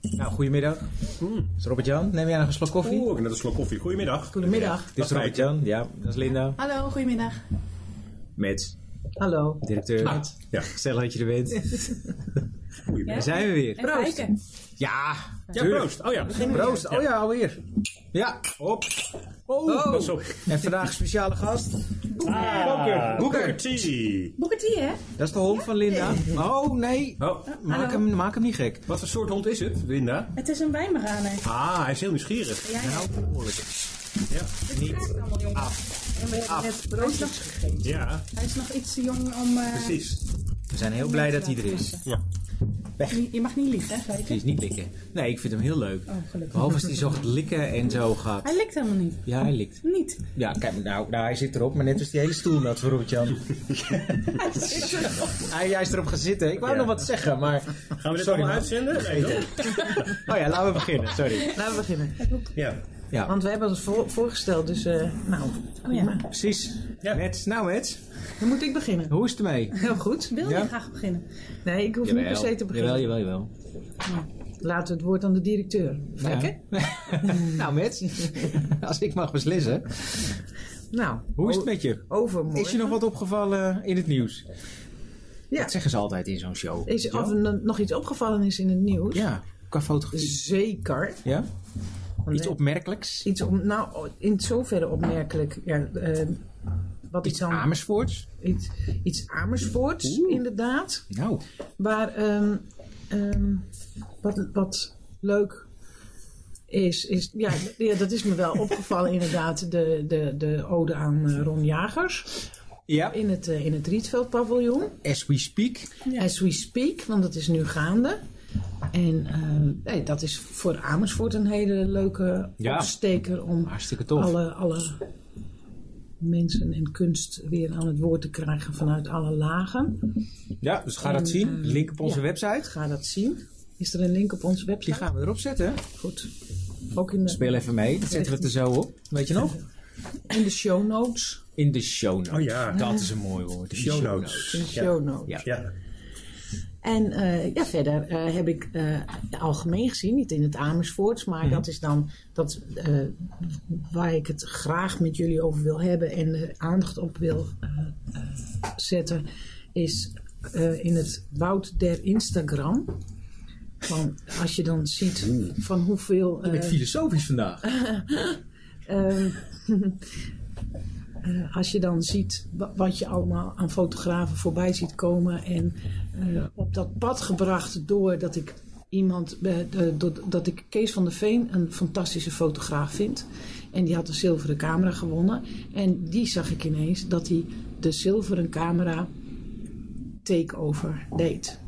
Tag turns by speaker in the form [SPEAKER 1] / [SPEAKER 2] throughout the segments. [SPEAKER 1] Nou, goedemiddag. Het is Robert-Jan. Neem jij nog een slok koffie?
[SPEAKER 2] Oeh, ik heb net een slok koffie. Goedemiddag.
[SPEAKER 3] Goedemiddag.
[SPEAKER 1] Dit is
[SPEAKER 2] dat
[SPEAKER 1] Robert-Jan, ja. Dat is Linda.
[SPEAKER 3] Hallo, goedemiddag.
[SPEAKER 1] Met
[SPEAKER 3] Hallo.
[SPEAKER 1] directeur.
[SPEAKER 3] Bart.
[SPEAKER 2] Ja.
[SPEAKER 1] Gezellig dat je er bent. Daar
[SPEAKER 2] Goedemiddag.
[SPEAKER 1] zijn we weer.
[SPEAKER 4] En kijken.
[SPEAKER 1] Ja,
[SPEAKER 2] Ja,
[SPEAKER 1] tuurlijk.
[SPEAKER 2] proost. Oh ja.
[SPEAKER 1] Proost. Oh ja, alweer. Ja, op.
[SPEAKER 2] Oh, pas op.
[SPEAKER 1] En vandaag speciale gast.
[SPEAKER 2] Boeker.
[SPEAKER 1] Ah. Boeker.
[SPEAKER 2] Boeker T.
[SPEAKER 4] Boeken die, hè?
[SPEAKER 1] Dat is de hond van Linda. Oh, nee.
[SPEAKER 2] Oh,
[SPEAKER 1] Maak
[SPEAKER 4] hallo.
[SPEAKER 1] hem, maak hem niet gek.
[SPEAKER 2] wat voor soort hond is het, Linda?
[SPEAKER 4] Het is een wijnberaner.
[SPEAKER 2] Ah, hij is heel nieuwsgierig.
[SPEAKER 4] Ja, ja.
[SPEAKER 2] Ja.
[SPEAKER 4] Niet. allemaal jong. En we hebben net broodjes gegeten.
[SPEAKER 2] Ja,
[SPEAKER 4] Hij is nog iets te jong om... eh,
[SPEAKER 2] precies.
[SPEAKER 1] We zijn heel blij dat hij er is.
[SPEAKER 4] je- Je mag niet lief, hè?
[SPEAKER 1] Die
[SPEAKER 4] Kijken.
[SPEAKER 1] is niet likken. Nee, ik vind hem heel leuk.
[SPEAKER 4] Oh, gelukkig.
[SPEAKER 1] Behalve als hij zo gaat likken en zo gaat.
[SPEAKER 4] Hij likt helemaal niet.
[SPEAKER 1] Ja, hij likt.
[SPEAKER 4] Niet.
[SPEAKER 1] Ja, kijk, nou, nou hij zit erop, maar net als die hele stoel nat voor Robert-Jan. hij, hij is erop gaan zitten. Ik wou
[SPEAKER 2] Ja.
[SPEAKER 1] nog wat zeggen, maar...
[SPEAKER 2] Gaan we dit
[SPEAKER 1] Sorry,
[SPEAKER 2] allemaal
[SPEAKER 1] man.
[SPEAKER 2] uitzenden? Nee, toch?
[SPEAKER 1] Oh ja, laten we beginnen, sorry.
[SPEAKER 3] Laten we beginnen.
[SPEAKER 2] Ja.
[SPEAKER 1] Ja,
[SPEAKER 3] Want we hebben ons voor- voorgesteld, dus eh, nou,
[SPEAKER 4] Oh ja.
[SPEAKER 1] precies.
[SPEAKER 2] Ja.
[SPEAKER 1] Mets, nou Mets,
[SPEAKER 3] dan moet ik beginnen.
[SPEAKER 1] hoe is het ermee?
[SPEAKER 3] Heel goed.
[SPEAKER 4] Wil
[SPEAKER 1] Ja?
[SPEAKER 4] je graag beginnen?
[SPEAKER 3] Nee, ik hoef niet per se te beginnen.
[SPEAKER 1] Jawel, jawel, jawel.
[SPEAKER 3] Laten we het woord aan de directeur.
[SPEAKER 1] Ja.
[SPEAKER 3] Oké?
[SPEAKER 1] nou Mets, als ik mag beslissen.
[SPEAKER 3] Nou,
[SPEAKER 1] Hoe is het
[SPEAKER 3] o-
[SPEAKER 1] met je?
[SPEAKER 3] overmorgen?
[SPEAKER 1] Is je nog wat opgevallen in het nieuws?
[SPEAKER 3] Ja.
[SPEAKER 1] Dat zeggen ze altijd in zo'n show.
[SPEAKER 3] Is,
[SPEAKER 1] Ja.
[SPEAKER 3] of er n- nog iets opgevallen is in het nieuws?
[SPEAKER 1] Ja, qua fotografie.
[SPEAKER 3] Zeker.
[SPEAKER 1] Ja?
[SPEAKER 3] Want,
[SPEAKER 1] Iets
[SPEAKER 3] eh,
[SPEAKER 1] opmerkelijks?
[SPEAKER 3] Iets op, nou, in zoverre opmerkelijk. Ja, eh, wat
[SPEAKER 1] Iets
[SPEAKER 3] iets dan?
[SPEAKER 1] Amersfoorts?
[SPEAKER 3] Iets, iets Amersfoorts, inderdaad.
[SPEAKER 1] Nou,
[SPEAKER 3] Maar ehm, ehm, wat, wat leuk is, is ja, d- ja, dat is me wel opgevallen inderdaad, de, de, de ode aan eh, Ron Jagers
[SPEAKER 1] ja,
[SPEAKER 3] in het, eh, in het Rietveldpaviljoen.
[SPEAKER 1] as we speak.
[SPEAKER 3] As we speak, want dat is nu gaande. En eh, nee, dat is voor Amersfoort een hele leuke
[SPEAKER 1] Ja.
[SPEAKER 3] opsteker om
[SPEAKER 1] Hartstikke tof.
[SPEAKER 3] alle, alle mensen en kunst weer aan het woord te krijgen vanuit alle lagen.
[SPEAKER 1] Ja, dus ga dat zien. Link op onze
[SPEAKER 3] ehm, ja.
[SPEAKER 1] website.
[SPEAKER 3] Ga dat zien. Is er een link op onze website?
[SPEAKER 1] Die gaan we erop zetten.
[SPEAKER 3] Goed. Ook in de,
[SPEAKER 1] Speel even mee. Dan zetten we het er zo op. Weet je nog?
[SPEAKER 3] in de show notes.
[SPEAKER 1] In de show notes.
[SPEAKER 2] Oh ja.
[SPEAKER 1] Dat is een mooi woord. De
[SPEAKER 2] Show
[SPEAKER 3] In de
[SPEAKER 2] notes. Ja.
[SPEAKER 3] show notes.
[SPEAKER 1] Ja.
[SPEAKER 2] Ja.
[SPEAKER 3] En eh, ja, verder eh, heb ik eh, algemeen gezien, niet in het Amersfoorts, maar
[SPEAKER 1] Mhm.
[SPEAKER 3] dat is dan dat, eh, waar ik het graag met jullie over wil hebben en eh, aandacht op wil eh, eh, zetten, is eh, in het woud der Instagram. Van, als je dan ziet van hoeveel...
[SPEAKER 1] Mhm. Ik ben
[SPEAKER 3] eh,
[SPEAKER 1] filosofisch vandaag.
[SPEAKER 3] Ehm, eh, als je dan ziet wa- wat je allemaal aan fotografen voorbij ziet komen en eh, op dat pad gebracht door dat ik iemand, eh, de- do- dat ik Kees van der Veen een fantastische fotograaf vind. En die had een zilveren camera gewonnen. En die zag ik ineens dat hij de zilveren camera takeover deed.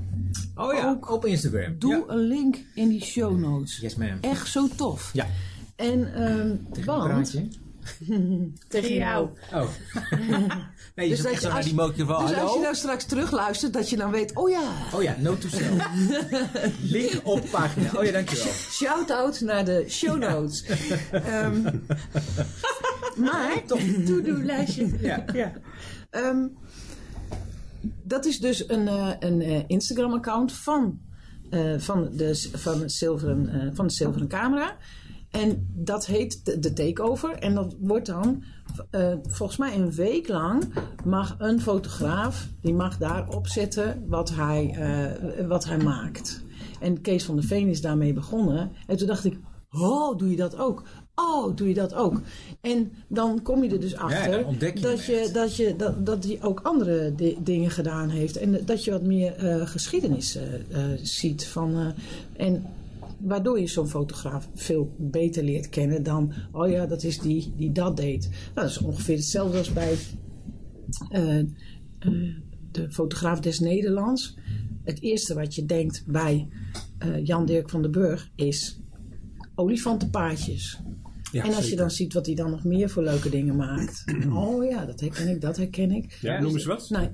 [SPEAKER 1] Oh ja, ook op Instagram.
[SPEAKER 3] Doe
[SPEAKER 1] Ja.
[SPEAKER 3] een link in die show notes.
[SPEAKER 1] Yes ma'am.
[SPEAKER 3] Echt zo tof.
[SPEAKER 1] Ja.
[SPEAKER 3] En ehm want...
[SPEAKER 1] Praatje.
[SPEAKER 4] Tegen jou.
[SPEAKER 1] Oh. nee, je zit
[SPEAKER 3] Dus dat
[SPEAKER 1] echt
[SPEAKER 3] je
[SPEAKER 1] zo naar
[SPEAKER 3] als-
[SPEAKER 1] die microfoon.
[SPEAKER 3] Dus als je
[SPEAKER 1] Oh, Hallo?
[SPEAKER 3] nou straks terugluistert, dat je dan weet, oh ja,
[SPEAKER 1] Oh ja, note to self. Link op pagina. Oh ja, dankjewel.
[SPEAKER 3] shout-out naar de show notes. Ehm, maar,
[SPEAKER 4] To-do-lijstje.
[SPEAKER 1] Ja.
[SPEAKER 3] ehm, dat is dus een, eh, een eh, Instagram-account van, eh, van, de, s- van, het zilveren, eh, van de zilveren camera. En dat heet de, de takeover. En dat wordt dan, eh, volgens mij een week lang, mag een fotograaf, die mag daar opzetten wat hij, eh, wat hij maakt. En Kees van der Veen is daarmee begonnen. En toen dacht ik, oh, doe je dat ook? Oh, doe je dat ook? En dan kom je er dus achter
[SPEAKER 1] dan ontdek je
[SPEAKER 3] dat,
[SPEAKER 1] hem
[SPEAKER 3] je,
[SPEAKER 1] echt.
[SPEAKER 3] dat, je, dat, dat hij ook andere di- dingen gedaan heeft. En dat je wat meer eh, geschiedenis eh, eh, ziet. Van, eh, en waardoor je zo'n fotograaf veel beter leert kennen dan... oh ja, dat is die die dat deed. Nou, dat is ongeveer hetzelfde als bij eh, eh, de fotograaf des Nederlands. Het eerste wat je denkt bij eh, Jan Dirk van den Burg is olifantenpaadjes.
[SPEAKER 2] Ja,
[SPEAKER 3] en als je
[SPEAKER 2] zeker.
[SPEAKER 3] dan ziet wat hij dan nog meer voor leuke dingen maakt. oh ja, dat herken ik, dat herken ik.
[SPEAKER 2] Ja, noem eens wat.
[SPEAKER 3] Nou,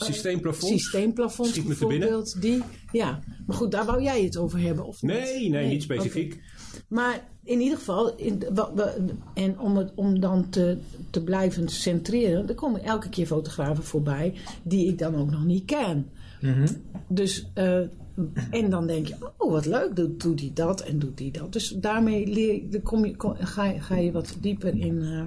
[SPEAKER 2] Systeemplafonds.
[SPEAKER 3] systeemplafonds
[SPEAKER 2] Schiet me te binnen.
[SPEAKER 3] bijvoorbeeld. Die, ja, maar goed, daar wou jij het over hebben, of niet?
[SPEAKER 2] Nee, nee, niet specifiek.
[SPEAKER 3] Maar in ieder geval, in, wa- wa- en om, het, om dan te, te blijven centreren, er komen elke keer fotografen voorbij die ik dan ook nog niet ken. Dus eh, En dan denk je, oh wat leuk, doet, doet die dat en doet die dat. Dus daarmee leer, je- dan kom je, kom- ga, je- ga je wat dieper in. eh,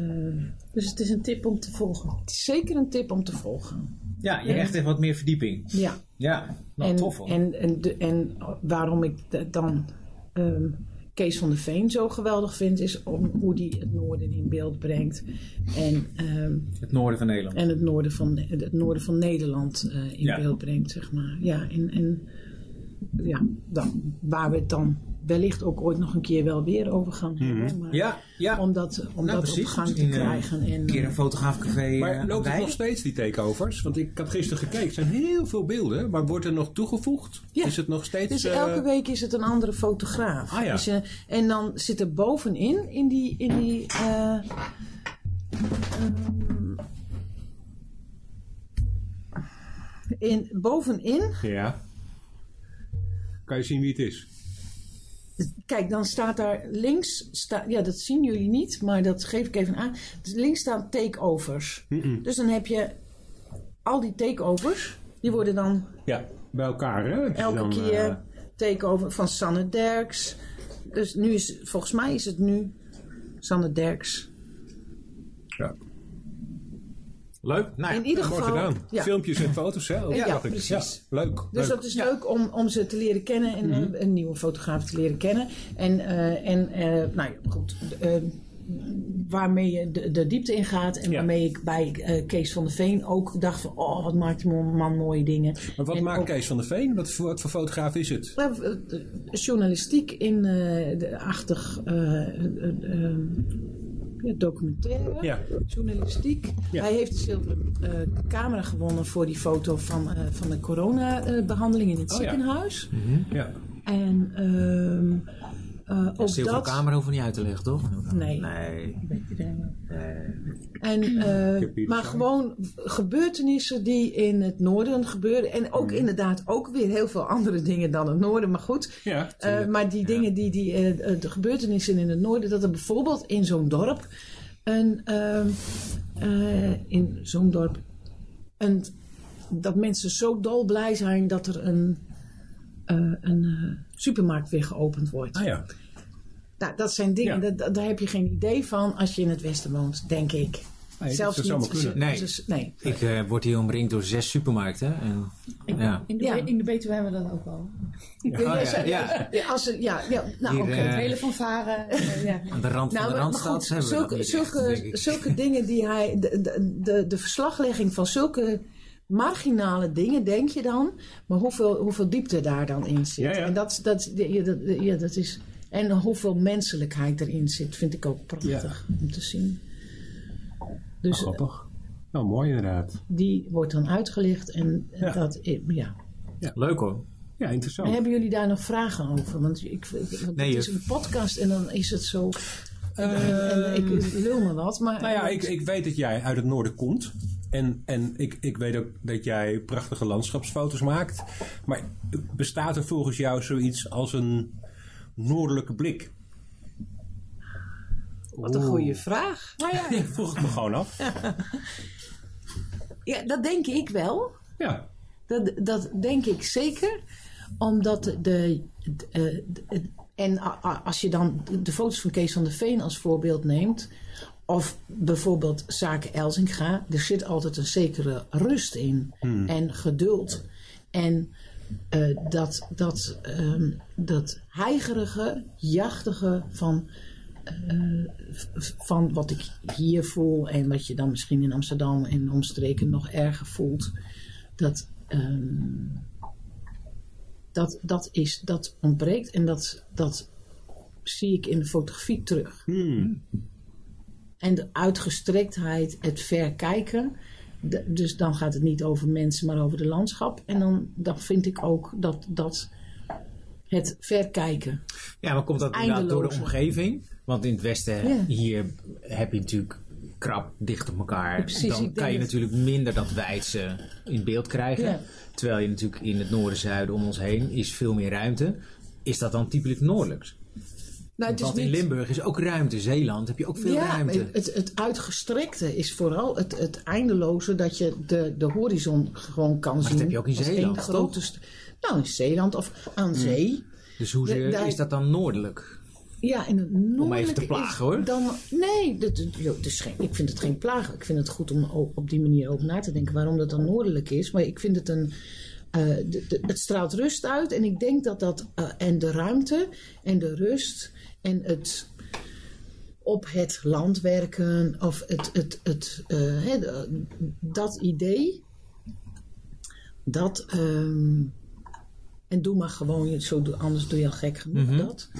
[SPEAKER 3] eh,
[SPEAKER 4] Dus het is een tip om te volgen.
[SPEAKER 3] het is zeker een tip om te volgen.
[SPEAKER 1] Ja, je krijgt echt wat meer verdieping.
[SPEAKER 3] Ja.
[SPEAKER 1] Ja, nou
[SPEAKER 3] en,
[SPEAKER 1] tof hoor.
[SPEAKER 3] En, en, de- en waarom ik de- dan ehm, Kees van de Veen zo geweldig vind, is om hoe hij het noorden in beeld brengt. En, ehm,
[SPEAKER 1] het noorden van Nederland.
[SPEAKER 3] en het, noorden van, het noorden van Nederland eh, in
[SPEAKER 1] Ja.
[SPEAKER 3] beeld brengt, zeg maar. Ja, en, en ja, dan, waar we het dan wellicht ook ooit nog een keer wel weer over gaan hebben. Maar
[SPEAKER 1] Mhm. ja, ja.
[SPEAKER 3] Om dat, om
[SPEAKER 1] Nou,
[SPEAKER 3] dat op
[SPEAKER 1] precies.
[SPEAKER 3] gang te
[SPEAKER 1] Misschien, eh,
[SPEAKER 3] krijgen. En,
[SPEAKER 1] Een keer een fotograafcafé. eh,
[SPEAKER 2] Maar loopt het
[SPEAKER 1] bij?
[SPEAKER 2] nog steeds, die takeovers? Want ik had gisteren gekeken, er zijn heel veel beelden, maar wordt er nog toegevoegd?
[SPEAKER 3] Ja.
[SPEAKER 2] Is het nog steeds...
[SPEAKER 3] Dus
[SPEAKER 2] eh,
[SPEAKER 3] elke week is het een andere fotograaf.
[SPEAKER 2] Ah, ja.
[SPEAKER 3] Dus, eh, en dan zit er bovenin, in die, in die eh, ehm, in, bovenin,
[SPEAKER 2] Ja. Kan je zien wie het is?
[SPEAKER 3] kijk, dan staat daar links, sta, ja, dat zien jullie niet, maar dat geef ik even aan. Dus links staan takeovers. Dus dan heb je al die takeovers, die worden dan
[SPEAKER 2] Ja. Bij elkaar, hè? Dat je
[SPEAKER 3] elke
[SPEAKER 2] dan,
[SPEAKER 3] keer
[SPEAKER 2] eh,
[SPEAKER 3] takeover van Sanne Derks. Dus nu is, volgens mij is het nu Sanne Derks.
[SPEAKER 2] ja.
[SPEAKER 1] Leuk. Nou, ja.
[SPEAKER 3] In ieder
[SPEAKER 2] Mooi
[SPEAKER 3] geval.
[SPEAKER 2] gedaan.
[SPEAKER 3] Ja.
[SPEAKER 2] Filmpjes en foto's, hè? ook,
[SPEAKER 3] Ja,
[SPEAKER 2] dacht ik.
[SPEAKER 3] precies.
[SPEAKER 2] Ja, leuk. leuk.
[SPEAKER 3] Dus
[SPEAKER 2] Mhm.
[SPEAKER 3] dat is leuk om, om ze te leren kennen en eh, een nieuwe fotograaf te leren kennen. En, eh, en eh, nou ja, goed. eh, waarmee je de, de diepte in gaat. En
[SPEAKER 2] Ja.
[SPEAKER 3] waarmee ik bij eh, Kees van der Veen ook dacht van... Oh, wat maakt die man mooie dingen.
[SPEAKER 2] Maar wat
[SPEAKER 3] En
[SPEAKER 2] maakt
[SPEAKER 3] ook-
[SPEAKER 2] Kees van der Veen? Wat, voor- wat voor fotograaf is het?
[SPEAKER 3] Nou, eh, eh, journalistiek in eh, de achtig eh, eh, eh, ja, documentaire.
[SPEAKER 2] Ja.
[SPEAKER 3] Journalistiek.
[SPEAKER 2] Ja.
[SPEAKER 3] Hij heeft de zilveren eh, camera gewonnen voor die foto van, eh, van de coronabehandeling in het
[SPEAKER 2] Oh, ja.
[SPEAKER 3] ziekenhuis.
[SPEAKER 2] Ja.
[SPEAKER 3] En ehm eh, ook
[SPEAKER 1] Zilveren
[SPEAKER 3] dat.
[SPEAKER 1] camera hoef je niet uit te leggen, toch?
[SPEAKER 3] Nee.
[SPEAKER 1] Nee.
[SPEAKER 4] Weet iedereen
[SPEAKER 3] En,
[SPEAKER 2] Hm.
[SPEAKER 3] eh,
[SPEAKER 2] heb hier
[SPEAKER 3] maar
[SPEAKER 2] de
[SPEAKER 3] gewoon gebeurtenissen die in het noorden gebeuren. En
[SPEAKER 2] Hm.
[SPEAKER 3] ook inderdaad ook weer heel veel andere dingen dan het noorden. Maar goed,
[SPEAKER 2] Ja,
[SPEAKER 3] Eh, maar die dingen, die, die, eh, eh, de gebeurtenissen in het noorden, dat er bijvoorbeeld in zo'n dorp, een, ehm, eh, in zo'n dorp, een, dat mensen zo dolblij zijn dat er een, eh, een eh, supermarkt weer geopend wordt.
[SPEAKER 2] Ah ja.
[SPEAKER 3] Nou, dat zijn dingen,
[SPEAKER 2] Ja.
[SPEAKER 3] dat- dat- daar heb je geen idee van als je in het Westen woont, denk ik.
[SPEAKER 2] Nee, dat zou zomaar kunnen.
[SPEAKER 1] Nee.
[SPEAKER 3] dus- nee.
[SPEAKER 1] Ik eh, word hier omringd door zes supermarkten. En, ja.
[SPEAKER 4] In de,
[SPEAKER 3] Ja.
[SPEAKER 4] in de Betuwe hebben we dat ook al.
[SPEAKER 1] Oh, ja, ja.
[SPEAKER 3] Ja, Als, er- ja, ja, nou,
[SPEAKER 1] Hier,
[SPEAKER 3] oké.
[SPEAKER 1] eh,
[SPEAKER 4] Het hele fanfare. eh, ja.
[SPEAKER 1] Aan de rand van
[SPEAKER 3] Nou,
[SPEAKER 1] de
[SPEAKER 3] maar, maar
[SPEAKER 1] Randstad
[SPEAKER 3] goed,
[SPEAKER 1] hebben we dat
[SPEAKER 3] zulke,
[SPEAKER 1] niet
[SPEAKER 3] zulke,
[SPEAKER 1] echt, denk ik.
[SPEAKER 3] zulke dingen die hij... De, de, de, de verslaglegging van zulke marginale dingen, denk je dan. Maar hoeveel, hoeveel diepte daar dan in zit.
[SPEAKER 2] Ja, ja.
[SPEAKER 3] En, dat, dat, ja, dat, ja, dat is, en hoeveel menselijkheid erin zit, vind ik ook prachtig om te zien. Dus
[SPEAKER 2] Grappig. Nou, mooi inderdaad.
[SPEAKER 3] die wordt dan uitgelicht en eh,
[SPEAKER 2] Ja. Oh.
[SPEAKER 3] dat... eh, Ja.
[SPEAKER 1] Leuk hoor.
[SPEAKER 2] Ja, interessant.
[SPEAKER 3] En hebben jullie daar nog vragen over? Want ik, ik- want
[SPEAKER 1] Nee,
[SPEAKER 3] het is
[SPEAKER 2] eh.
[SPEAKER 1] juf.
[SPEAKER 3] een podcast en dan is het zo... en, en ik, ik lul me wat, maar...
[SPEAKER 2] Nou ja, ik, ik weet dat jij uit het noorden komt. En, en ik, ik weet ook dat jij prachtige landschapsfoto's maakt. Maar bestaat er volgens jou zoiets als een noordelijke blik?
[SPEAKER 3] Wat een goede vraag.
[SPEAKER 4] Nou
[SPEAKER 2] Ja, vroeg ik me gewoon af.
[SPEAKER 3] Ja, dat denk ik wel.
[SPEAKER 2] Ja.
[SPEAKER 3] Dat, dat denk ik zeker. Omdat de. de, eh, de- en a- a- als je dan de foto's van Kees van der Veen als voorbeeld neemt. Of bijvoorbeeld zaken Elzinga. Er zit altijd een zekere rust in. En geduld. En eh, dat, dat, ehm, dat heigerige, jachtige van eh, van wat ik hier voel en wat je dan misschien in Amsterdam en omstreken nog erger voelt. Dat, ehm, dat, dat, is, dat ontbreekt en dat, dat zie ik in de fotografie terug. En de uitgestrektheid, het verkijken. D- dus dan gaat het niet over mensen, maar over de landschap. En dan, dan vind ik ook dat, dat het verkijken.
[SPEAKER 1] Ja, maar komt dat inderdaad
[SPEAKER 3] Eindeloze.
[SPEAKER 1] door de omgeving? Want in het westen,
[SPEAKER 3] Ja.
[SPEAKER 1] hier heb je natuurlijk krap dicht op elkaar.
[SPEAKER 3] precies, ik
[SPEAKER 1] Dan
[SPEAKER 3] denk
[SPEAKER 1] kan je
[SPEAKER 3] het.
[SPEAKER 1] natuurlijk minder dat wijdse in beeld krijgen.
[SPEAKER 3] Ja.
[SPEAKER 1] Terwijl je natuurlijk in het noorden, zuiden om ons heen is veel meer ruimte. Is dat dan typisch noordelijks?
[SPEAKER 3] Nou, het
[SPEAKER 1] Want in Limburg is ook ruimte. Zeeland heb je ook veel ruimte.
[SPEAKER 3] maar Het, het uitgestrekte is vooral het, het eindeloze dat je de, de horizon gewoon kan
[SPEAKER 1] dat
[SPEAKER 3] zien.
[SPEAKER 1] heb je ook in
[SPEAKER 3] als
[SPEAKER 1] Zeeland,
[SPEAKER 3] één grote
[SPEAKER 1] toch?
[SPEAKER 3] st- Nou, in Zeeland of aan zee.
[SPEAKER 1] Dus hoezeer
[SPEAKER 3] Ja, daar-
[SPEAKER 1] is dat dan noordelijk?
[SPEAKER 3] Ja, en het noordelijke
[SPEAKER 1] even te plagen,
[SPEAKER 3] is
[SPEAKER 1] hoor.
[SPEAKER 3] Dan, nee, dat, dat- joh, het is geen, ik vind het geen plagen. Ik vind het goed om o- op die manier over na te denken waarom dat dan noordelijk is. Maar ik vind het een. eh, de- de- het straalt rust uit en ik denk dat dat. eh, en de ruimte en de rust en het. Op het land werken of het. het, het eh, hè, de- dat idee. Dat. ehm, en doe maar gewoon, je- zo, doe- anders doe je al gek genoeg
[SPEAKER 1] Mhm.
[SPEAKER 3] dat.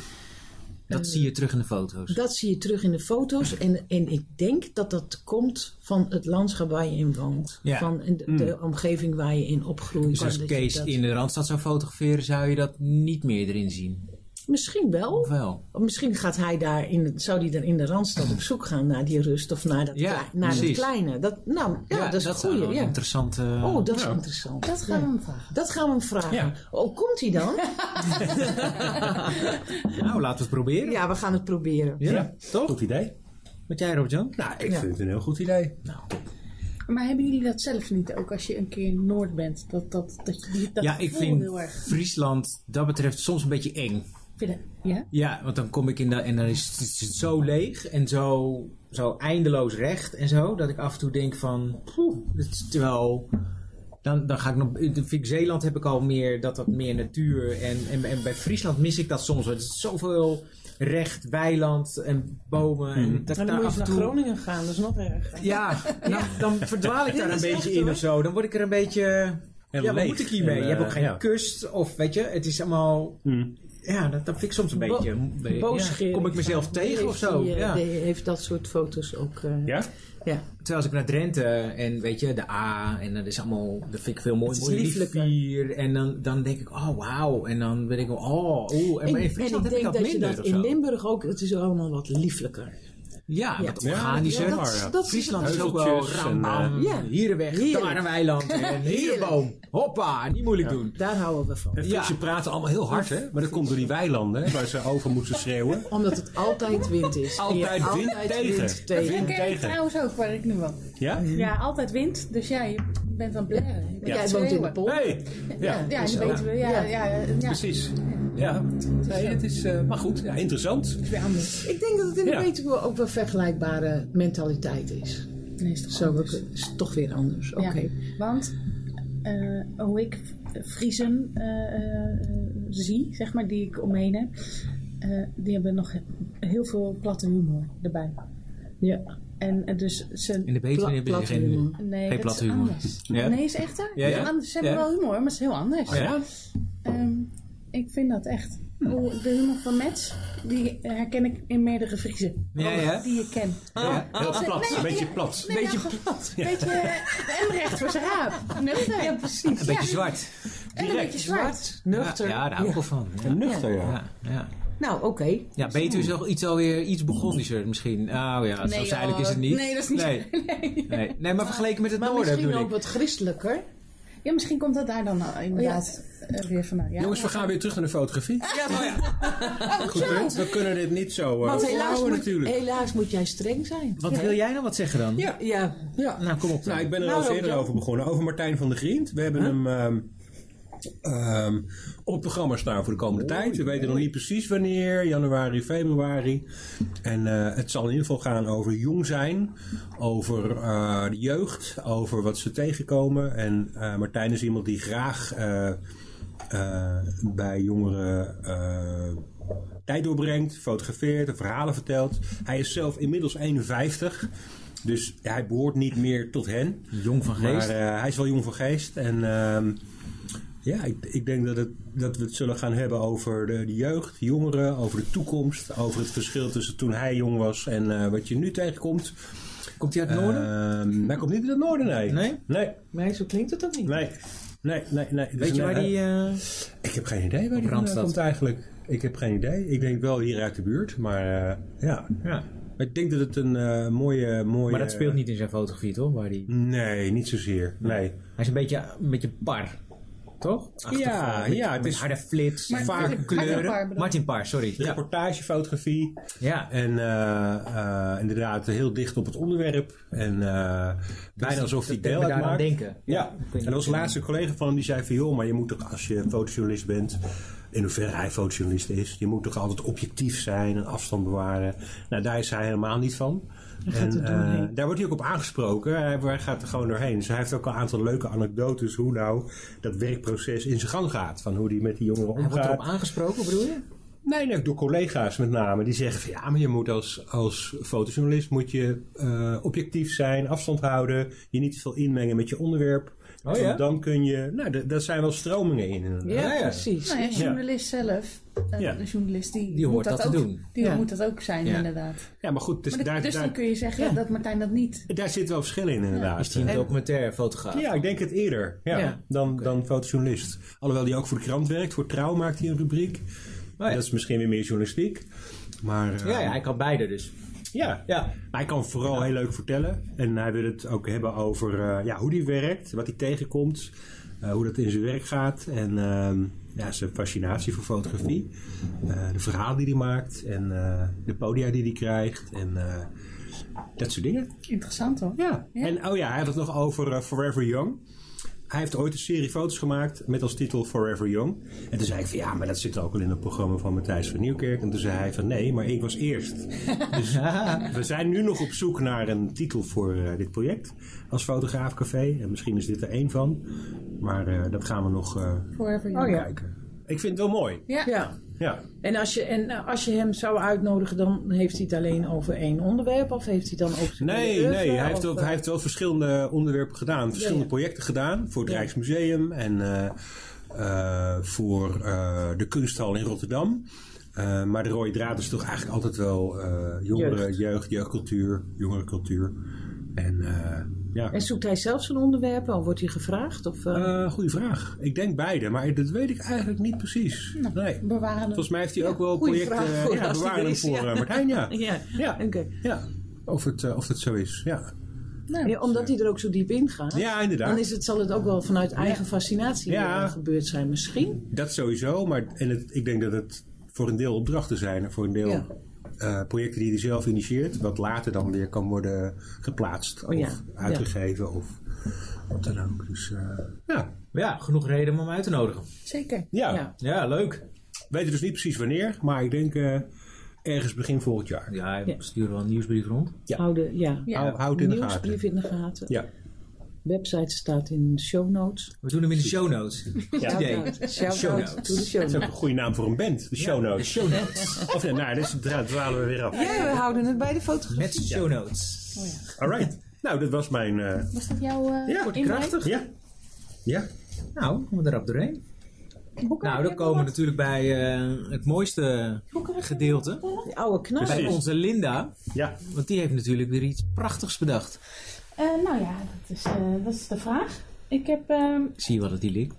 [SPEAKER 1] Dat
[SPEAKER 3] Eh,
[SPEAKER 1] zie je terug in de foto's.
[SPEAKER 3] Dat zie je terug in de foto's. En, en ik denk dat dat komt van het landschap waar je in woont.
[SPEAKER 1] Ja.
[SPEAKER 3] Van de, de omgeving waar je in opgroeit.
[SPEAKER 1] Dus als
[SPEAKER 3] Dat je
[SPEAKER 1] Kees
[SPEAKER 3] dat-
[SPEAKER 1] in de Randstad zou fotograferen, zou je dat niet meer erin zien.
[SPEAKER 3] Misschien wel.
[SPEAKER 1] Of wel?
[SPEAKER 3] Of Misschien gaat hij daar in de- zou hij dan in de Randstad op zoek gaan naar die rust of naar dat,
[SPEAKER 1] Ja,
[SPEAKER 3] klei- naar dat
[SPEAKER 1] precies.
[SPEAKER 3] kleine. Dat, nou, ja, dat is een
[SPEAKER 1] zou wel
[SPEAKER 3] goeie. Ja.
[SPEAKER 1] interessante...
[SPEAKER 3] Oh, dat is interessant.
[SPEAKER 4] Dat gaan we hem vragen.
[SPEAKER 3] Dat gaan we hem vragen.
[SPEAKER 2] Ja.
[SPEAKER 3] Oh, komt hij dan?
[SPEAKER 1] Nou, laten we het proberen.
[SPEAKER 3] ja, we gaan het proberen.
[SPEAKER 1] Ja, toch?
[SPEAKER 2] Goed idee.
[SPEAKER 1] Wat jij, Robjan? Nou,
[SPEAKER 2] Ik vind het een heel goed idee.
[SPEAKER 4] Maar hebben jullie dat zelf niet ook als je een keer in Noord bent? Dat, dat, dat, je die- dat
[SPEAKER 1] ja, ik
[SPEAKER 4] gevoel
[SPEAKER 1] vind
[SPEAKER 4] heel erg.
[SPEAKER 1] Friesland dat betreft soms een beetje eng.
[SPEAKER 4] Vinden- Ja?
[SPEAKER 1] Ja, want dan kom ik in dat en dan is het, is het zo leeg en zo, zo eindeloos recht en zo, dat ik af en toe denk van, poeh, dit is terwijl, dan, dan ga ik nog, dan vind ik Zeeland heb ik al meer, dat dat meer natuur en, en, en bij Friesland mis ik dat soms, want het is zoveel recht, weiland en bomen. En dat ik
[SPEAKER 3] Maar dan
[SPEAKER 1] daar
[SPEAKER 3] moet
[SPEAKER 1] af
[SPEAKER 3] je
[SPEAKER 1] en toe-
[SPEAKER 3] naar Groningen gaan, dat is nog erger.
[SPEAKER 1] Ja, nou, dan verdwaal ik daar
[SPEAKER 3] dat
[SPEAKER 1] een
[SPEAKER 3] is
[SPEAKER 1] beetje
[SPEAKER 3] echt,
[SPEAKER 1] in
[SPEAKER 3] hoor.
[SPEAKER 1] of zo. Dan word ik er een beetje.
[SPEAKER 2] En
[SPEAKER 1] ja, wat
[SPEAKER 2] leeg.
[SPEAKER 1] moet ik hiermee?
[SPEAKER 2] En,
[SPEAKER 1] je hebt ook
[SPEAKER 2] eh,
[SPEAKER 1] geen
[SPEAKER 2] ja. Hmm.
[SPEAKER 1] kust of weet je, het is allemaal. Ja, dat, dat vind ik soms een
[SPEAKER 3] Bo-
[SPEAKER 1] beetje. ja,
[SPEAKER 3] boosgerig.
[SPEAKER 1] kom ik mezelf tegen
[SPEAKER 3] Heeft
[SPEAKER 1] of zo?
[SPEAKER 3] die, eh,
[SPEAKER 1] ja.
[SPEAKER 3] die heeft dat soort foto's ook. eh,
[SPEAKER 2] Ja?
[SPEAKER 3] ja.
[SPEAKER 1] Terwijl als ik naar Drenthe en weet je, de A en dat is allemaal, dat vind ik veel mooi.
[SPEAKER 3] Het is
[SPEAKER 1] mooie
[SPEAKER 3] lieflijker.
[SPEAKER 1] rivier. En dan, dan denk ik, oh wauw. En dan ben ik, oh, oeh. En, maar in Friesland heb ik dat minder
[SPEAKER 3] je dat
[SPEAKER 1] of zo.
[SPEAKER 3] in Limburg ook, het is allemaal wat lieflijker.
[SPEAKER 1] Ja, wat
[SPEAKER 2] Ja,
[SPEAKER 1] organischer.
[SPEAKER 2] ja, dat-
[SPEAKER 3] dat is-
[SPEAKER 1] Friesland is ook wel
[SPEAKER 2] Heuveltjes
[SPEAKER 1] ram,
[SPEAKER 2] en,
[SPEAKER 1] bam,
[SPEAKER 3] eh, Ja.
[SPEAKER 1] hier een weg,
[SPEAKER 3] Heerlijk.
[SPEAKER 1] daar een weiland en hier een boom. Hoppa, niet moeilijk doen.
[SPEAKER 3] Daar houden we van.
[SPEAKER 2] En Friesen eh, praten allemaal heel hard, hè? Maar dat komt door die weilanden, hè, waar ze over moeten schreeuwen.
[SPEAKER 3] Omdat het altijd wind is.
[SPEAKER 2] Altijd
[SPEAKER 3] Ja,
[SPEAKER 2] wind tegen.
[SPEAKER 3] wind tegen.
[SPEAKER 4] Dat
[SPEAKER 2] Wind.
[SPEAKER 4] ken ik
[SPEAKER 2] Tegen.
[SPEAKER 4] trouwens ook waar ik nu woon.
[SPEAKER 2] Ja?
[SPEAKER 4] Ja, altijd wind. Dus jij bent aan het blaren. Je bent
[SPEAKER 3] Jij
[SPEAKER 4] aan het
[SPEAKER 3] woont in de
[SPEAKER 4] schreeuwen.
[SPEAKER 3] polder.
[SPEAKER 2] Hey! Ja,
[SPEAKER 4] Ja, dat weten we. Ja, ja, ja, ja.
[SPEAKER 2] precies. Ja, nee, het is, eh, maar goed, ja, interessant.
[SPEAKER 3] Ik denk dat het in de
[SPEAKER 2] Ja.
[SPEAKER 3] Betuwe ook wel vergelijkbare mentaliteit is.
[SPEAKER 4] Nee, is toch
[SPEAKER 3] Zo
[SPEAKER 4] anders.
[SPEAKER 3] ook- is toch weer anders. Oké.
[SPEAKER 4] Ja, want eh, hoe ik Friesen eh, eh, zie, zeg maar, die ik omheen heb, eh, die hebben nog heel veel platte humor erbij.
[SPEAKER 3] Ja.
[SPEAKER 4] En eh, dus ze.
[SPEAKER 1] In de
[SPEAKER 3] Pla-
[SPEAKER 1] Betuwe hebben ze
[SPEAKER 3] platte
[SPEAKER 1] geen...
[SPEAKER 3] humor.
[SPEAKER 4] Nee,
[SPEAKER 1] Geen
[SPEAKER 4] dat
[SPEAKER 1] platte
[SPEAKER 4] is
[SPEAKER 1] humor.
[SPEAKER 4] anders.
[SPEAKER 1] Ja?
[SPEAKER 4] Nee, is echt hè?
[SPEAKER 1] Ja, ja.
[SPEAKER 4] Anders, ze hebben
[SPEAKER 1] Ja. Oh,
[SPEAKER 4] wel humor, maar het is heel anders.
[SPEAKER 1] Ja? Hm.
[SPEAKER 4] Ehm, ik vind dat echt. Hoe- De humor van Mets, die herken ik in meerdere Friesen.
[SPEAKER 1] Ja, ja.
[SPEAKER 4] Die je kent.
[SPEAKER 1] Ja,
[SPEAKER 2] Heel plat,
[SPEAKER 4] Nee,
[SPEAKER 2] een beetje
[SPEAKER 4] ja.
[SPEAKER 2] plat.
[SPEAKER 4] Nee,
[SPEAKER 1] Beetje
[SPEAKER 4] nou, Beetje eh, Emrecht voor zijn raap. Nuchter. Ja, precies.
[SPEAKER 1] Een beetje zwart.
[SPEAKER 4] En een beetje zwart.
[SPEAKER 3] Zwart, nuchter.
[SPEAKER 1] Ja, nou, Oh, daar hou ik wel van.
[SPEAKER 2] En nuchter, ja.
[SPEAKER 1] Ja, ja.
[SPEAKER 3] Nou, oké.
[SPEAKER 1] ja Betuwe is nog iets alweer iets begonnischer misschien. Oh ja,
[SPEAKER 4] Nee,
[SPEAKER 1] zo zuidelijk
[SPEAKER 4] joh.
[SPEAKER 1] is het niet.
[SPEAKER 4] Nee, dat is niet-
[SPEAKER 1] Nee, nee. nee maar vergeleken met het
[SPEAKER 3] Maar
[SPEAKER 1] noorden
[SPEAKER 3] misschien
[SPEAKER 1] bedoel
[SPEAKER 3] ook
[SPEAKER 1] ik.
[SPEAKER 3] wat christelijker.
[SPEAKER 4] Ja, misschien komt dat daar dan nou inderdaad eh, weer vandaan. Ja,
[SPEAKER 2] Jongens, we gaan weer terug naar de fotografie.
[SPEAKER 1] Ja, nou ja.
[SPEAKER 2] Goed punt. We kunnen dit niet zo eh
[SPEAKER 3] Want helaas
[SPEAKER 2] ophouden
[SPEAKER 3] moet, Eh,
[SPEAKER 2] natuurlijk.
[SPEAKER 3] helaas moet jij streng zijn.
[SPEAKER 1] Oh, Wat wil jij nou wat zeggen dan?
[SPEAKER 2] Ja.
[SPEAKER 3] Ja. ja.
[SPEAKER 1] Nou, kom op. dan.
[SPEAKER 2] Nou, ik ben er
[SPEAKER 3] Nou,
[SPEAKER 2] al eens eerder
[SPEAKER 3] Robert.
[SPEAKER 2] over begonnen. Over Martijn van der Grient. We hebben hem ehm, ehm, op het programma staan voor de komende tijd. We weten nog niet precies wanneer. Januari, februari. En eh, het zal in ieder geval gaan over jong zijn. Over eh, de jeugd. Over wat ze tegenkomen. En eh, Martijn is iemand die graag... eh, eh, bij jongeren eh, tijd doorbrengt, fotografeert en verhalen vertelt. Hij is zelf inmiddels 51, dus hij behoort niet meer tot hen.
[SPEAKER 1] Jong van geest.
[SPEAKER 2] Maar eh, hij is wel jong van geest. En ehm, ja, ik, ik denk dat, het, dat we het zullen gaan hebben over de, de jeugd, jongeren, over de toekomst, over het verschil tussen toen hij jong was en eh, wat je nu tegenkomt.
[SPEAKER 1] Komt hij uit het noorden?
[SPEAKER 2] Ehm, hij komt niet uit het noorden, nee.
[SPEAKER 1] Nee?
[SPEAKER 2] Nee,
[SPEAKER 3] Nee, zo klinkt het ook niet.
[SPEAKER 2] nee, nee, nee. nee. Dus
[SPEAKER 1] Weet je
[SPEAKER 2] een-
[SPEAKER 1] waar die... eh,
[SPEAKER 2] ik heb geen idee waar die vandaan
[SPEAKER 1] Randstad.
[SPEAKER 2] komt eigenlijk. Ik heb geen idee. Ik denk wel hier uit de buurt, maar eh, ja.
[SPEAKER 1] ja. eh,
[SPEAKER 2] Maar Ik denk dat het een eh, mooie, mooie...
[SPEAKER 1] Maar dat speelt niet in zijn fotografie, toch? Waar die...
[SPEAKER 2] Nee, niet zozeer. Nee.
[SPEAKER 1] Hij is een beetje, een beetje par. toch? Achtergrond met-
[SPEAKER 2] ja, het
[SPEAKER 1] met
[SPEAKER 2] is-
[SPEAKER 1] harde flits.
[SPEAKER 4] Maar-
[SPEAKER 1] vaak
[SPEAKER 4] Martin
[SPEAKER 1] kleuren.
[SPEAKER 4] Paar bedoel-
[SPEAKER 1] Martin Paar, sorry. Ja.
[SPEAKER 2] Reportagefotografie.
[SPEAKER 1] ja.
[SPEAKER 2] En eh, eh, inderdaad heel dicht op het onderwerp. En eh, bijna alsof hij
[SPEAKER 1] Dus dat deed
[SPEAKER 2] deel
[SPEAKER 1] me daar aan
[SPEAKER 2] uitmaakt.
[SPEAKER 1] denken.
[SPEAKER 2] Ja, en er was laatst een collega van hem die zei van... joh, maar je moet toch als je fotojournalist bent... in hoeverre hij fotojournalist is... je moet toch altijd objectief zijn en afstand bewaren. Nou, daar is hij helemaal niet van.
[SPEAKER 3] gaat
[SPEAKER 2] En,
[SPEAKER 3] er doorheen.
[SPEAKER 2] eh, daar wordt hij ook op aangesproken. Hij, hij gaat er gewoon doorheen. Dus hij heeft ook een aantal leuke anekdotes... hoe nou dat werkproces in zijn gang gaat. Van hoe hij met die jongeren
[SPEAKER 1] Hij wordt
[SPEAKER 2] omgaat.
[SPEAKER 1] erop aangesproken, bedoel je?
[SPEAKER 2] Nee, nee, door collega's met name. Die zeggen van ja, maar je moet als, als fotojournalist moet je eh, objectief zijn, afstand houden, je niet te veel inmengen met je onderwerp.
[SPEAKER 1] Oh ja?
[SPEAKER 2] Want Dan kun je, nou, d- daar zijn wel stromingen in. inderdaad.
[SPEAKER 3] Ja,
[SPEAKER 1] Ja, ja.
[SPEAKER 3] precies.
[SPEAKER 4] Nou ja, journalist zelf. eh,
[SPEAKER 2] Ja.
[SPEAKER 4] De journalist die,
[SPEAKER 1] Die hoort
[SPEAKER 4] moet
[SPEAKER 1] dat te
[SPEAKER 4] ook,
[SPEAKER 1] doen.
[SPEAKER 4] Die
[SPEAKER 3] Ja.
[SPEAKER 4] moet dat ook zijn,
[SPEAKER 1] Ja.
[SPEAKER 4] inderdaad.
[SPEAKER 2] Ja, maar goed, dus
[SPEAKER 4] Maar dat-
[SPEAKER 2] daar,
[SPEAKER 4] dus dan
[SPEAKER 2] daar,
[SPEAKER 4] kun je zeggen dat Martijn dat niet.
[SPEAKER 2] daar zit wel verschil in
[SPEAKER 1] Is
[SPEAKER 2] inderdaad.
[SPEAKER 1] hij een
[SPEAKER 3] En-
[SPEAKER 1] documentaire fotograaf?
[SPEAKER 2] Ja, ik denk het eerder ja,
[SPEAKER 1] Ja.
[SPEAKER 2] Dan, dan fotojournalist. Alhoewel die ook voor de krant werkt, voor Trouw maakt hij een rubriek.
[SPEAKER 1] Oh, ja.
[SPEAKER 2] Dat is misschien weer meer journalistiek. Maar eh,
[SPEAKER 1] Ja, ja, hij kan beide dus.
[SPEAKER 2] ja,
[SPEAKER 1] Ja.
[SPEAKER 2] Maar Hij kan vooral heel leuk vertellen. En hij wil het ook hebben over eh, ja, hoe die werkt, wat hij tegenkomt, eh, hoe dat in zijn werk gaat en ehm, ja, zijn fascinatie voor fotografie. Eh, de verhalen die hij maakt en eh, de podia die hij krijgt en eh, dat soort dingen.
[SPEAKER 4] Interessant hoor.
[SPEAKER 2] Ja. En oh ja, hij had het nog over eh, Forever Young. Hij heeft ooit een serie foto's gemaakt met als titel Forever Young. En toen zei ik van ja, maar dat zit ook al in het programma van Matthijs van Nieuwkerk. En toen zei hij van nee, maar ik was eerst. Dus we zijn nu nog op zoek naar een titel voor eh, dit project als fotograafcafé. En misschien is dit er één van. Maar eh, dat gaan we nog eh,
[SPEAKER 4] Forever
[SPEAKER 3] Oh
[SPEAKER 4] young.
[SPEAKER 3] ja.
[SPEAKER 2] kijken. Ik vind het wel mooi.
[SPEAKER 4] Ja.
[SPEAKER 3] Ja.
[SPEAKER 2] Ja.
[SPEAKER 3] En als, je, en eh, als je hem zou uitnodigen, dan heeft hij het alleen over één onderwerp? Of heeft hij dan ook zijn
[SPEAKER 2] Nee,
[SPEAKER 3] hele
[SPEAKER 2] nee.
[SPEAKER 3] oeuvre,
[SPEAKER 2] Hij heeft,
[SPEAKER 3] of,
[SPEAKER 2] ook,
[SPEAKER 3] eh,
[SPEAKER 2] hij heeft wel verschillende onderwerpen gedaan. Verschillende
[SPEAKER 3] ja.
[SPEAKER 2] projecten gedaan. Voor het
[SPEAKER 3] Ja.
[SPEAKER 2] Rijksmuseum en eh, eh, voor eh, de kunsthal in Rotterdam. Eh, maar de rode draad is toch eigenlijk altijd wel eh jongeren, jeugd.
[SPEAKER 3] Jeugd.
[SPEAKER 2] jeugdcultuur, jongerencultuur. En eh, ja,
[SPEAKER 3] En zoekt hij zelf zijn onderwerpen? Of wordt hij gevraagd? Of, eh,
[SPEAKER 2] Eh, goede vraag. Ik denk beide, maar dat weet ik eigenlijk niet precies. Nee.
[SPEAKER 4] Bewaren.
[SPEAKER 2] Volgens mij heeft hij ook wel
[SPEAKER 3] Nou, goeie
[SPEAKER 2] projecten. eh,
[SPEAKER 3] vraag voor
[SPEAKER 2] ja,
[SPEAKER 3] als die
[SPEAKER 2] bewaren
[SPEAKER 3] er
[SPEAKER 2] hem
[SPEAKER 3] is,
[SPEAKER 2] voor
[SPEAKER 3] ja.
[SPEAKER 2] eh, Martijn, ja.
[SPEAKER 3] ja,
[SPEAKER 2] Ja.
[SPEAKER 3] oké.
[SPEAKER 2] ja. Of, het, eh, of dat zo is, ja.
[SPEAKER 4] Nou,
[SPEAKER 3] Ja, omdat hij er ook zo diep in gaat.
[SPEAKER 2] Ja, inderdaad.
[SPEAKER 3] Dan is het, zal het ook wel vanuit eigen fascinatie
[SPEAKER 2] Ja.
[SPEAKER 3] eh, gebeurd zijn misschien.
[SPEAKER 2] Dat sowieso, maar en het, ik denk dat het voor een deel opdrachten zijn. en Voor een deel
[SPEAKER 3] Ja.
[SPEAKER 2] eh, projecten die hij zelf initieert. Wat later dan weer kan worden geplaatst.
[SPEAKER 3] Oh ja,
[SPEAKER 2] Of
[SPEAKER 3] ja.
[SPEAKER 2] uitgegeven of wat dan ook. Dus eh, ja.
[SPEAKER 1] Ja, genoeg reden om hem uit te nodigen.
[SPEAKER 4] Zeker.
[SPEAKER 2] Ja.
[SPEAKER 3] Ja.
[SPEAKER 1] Ja, leuk.
[SPEAKER 2] We weten dus niet precies wanneer. Maar ik denk eh, ergens begin volgend jaar.
[SPEAKER 1] Ja, hij
[SPEAKER 3] Ja.
[SPEAKER 1] stuurt wel een nieuwsbrief rond.
[SPEAKER 2] Ja.
[SPEAKER 3] Oude, ja.
[SPEAKER 4] Ja.
[SPEAKER 2] Hou, hou het in de gaten.
[SPEAKER 3] Nieuwsbrief in de gaten.
[SPEAKER 2] Ja.
[SPEAKER 3] Website staat in show notes.
[SPEAKER 1] We doen hem in de show notes. Goed idee.
[SPEAKER 3] Shout-out. Shout-out
[SPEAKER 1] Show notes.
[SPEAKER 3] to the show
[SPEAKER 2] Dat is
[SPEAKER 3] notes.
[SPEAKER 2] ook een goede naam voor een band. De show
[SPEAKER 1] De
[SPEAKER 2] notes.
[SPEAKER 1] show notes.
[SPEAKER 2] Of nee, nou, dus, daar dwalen we weer af.
[SPEAKER 3] Ja, we houden het bij de fotografie.
[SPEAKER 1] Met show notes.
[SPEAKER 2] Alright. Nou, dat was mijn... eh,
[SPEAKER 4] Was dat jouw eh
[SPEAKER 2] Ja.
[SPEAKER 1] Kort en
[SPEAKER 4] inbreng?
[SPEAKER 1] krachtig.
[SPEAKER 2] ja. Ja.
[SPEAKER 1] Nou, komen we erop doorheen.
[SPEAKER 4] Boeken,
[SPEAKER 1] Nou,
[SPEAKER 4] heb
[SPEAKER 1] dan
[SPEAKER 4] je
[SPEAKER 1] komen we
[SPEAKER 4] nog
[SPEAKER 1] natuurlijk bij eh, het mooiste
[SPEAKER 4] wat? Boeken, wat? eh?
[SPEAKER 1] gedeelte.
[SPEAKER 3] Die oude knarren.
[SPEAKER 1] Bij
[SPEAKER 2] Precies.
[SPEAKER 1] onze Linda.
[SPEAKER 2] Ja.
[SPEAKER 1] Want die heeft natuurlijk weer iets prachtigs bedacht.
[SPEAKER 4] Eh, nou ja, dat is, eh, dat is de vraag. Ik heb... ehm,
[SPEAKER 1] Ik Zie je wat het hier ligt.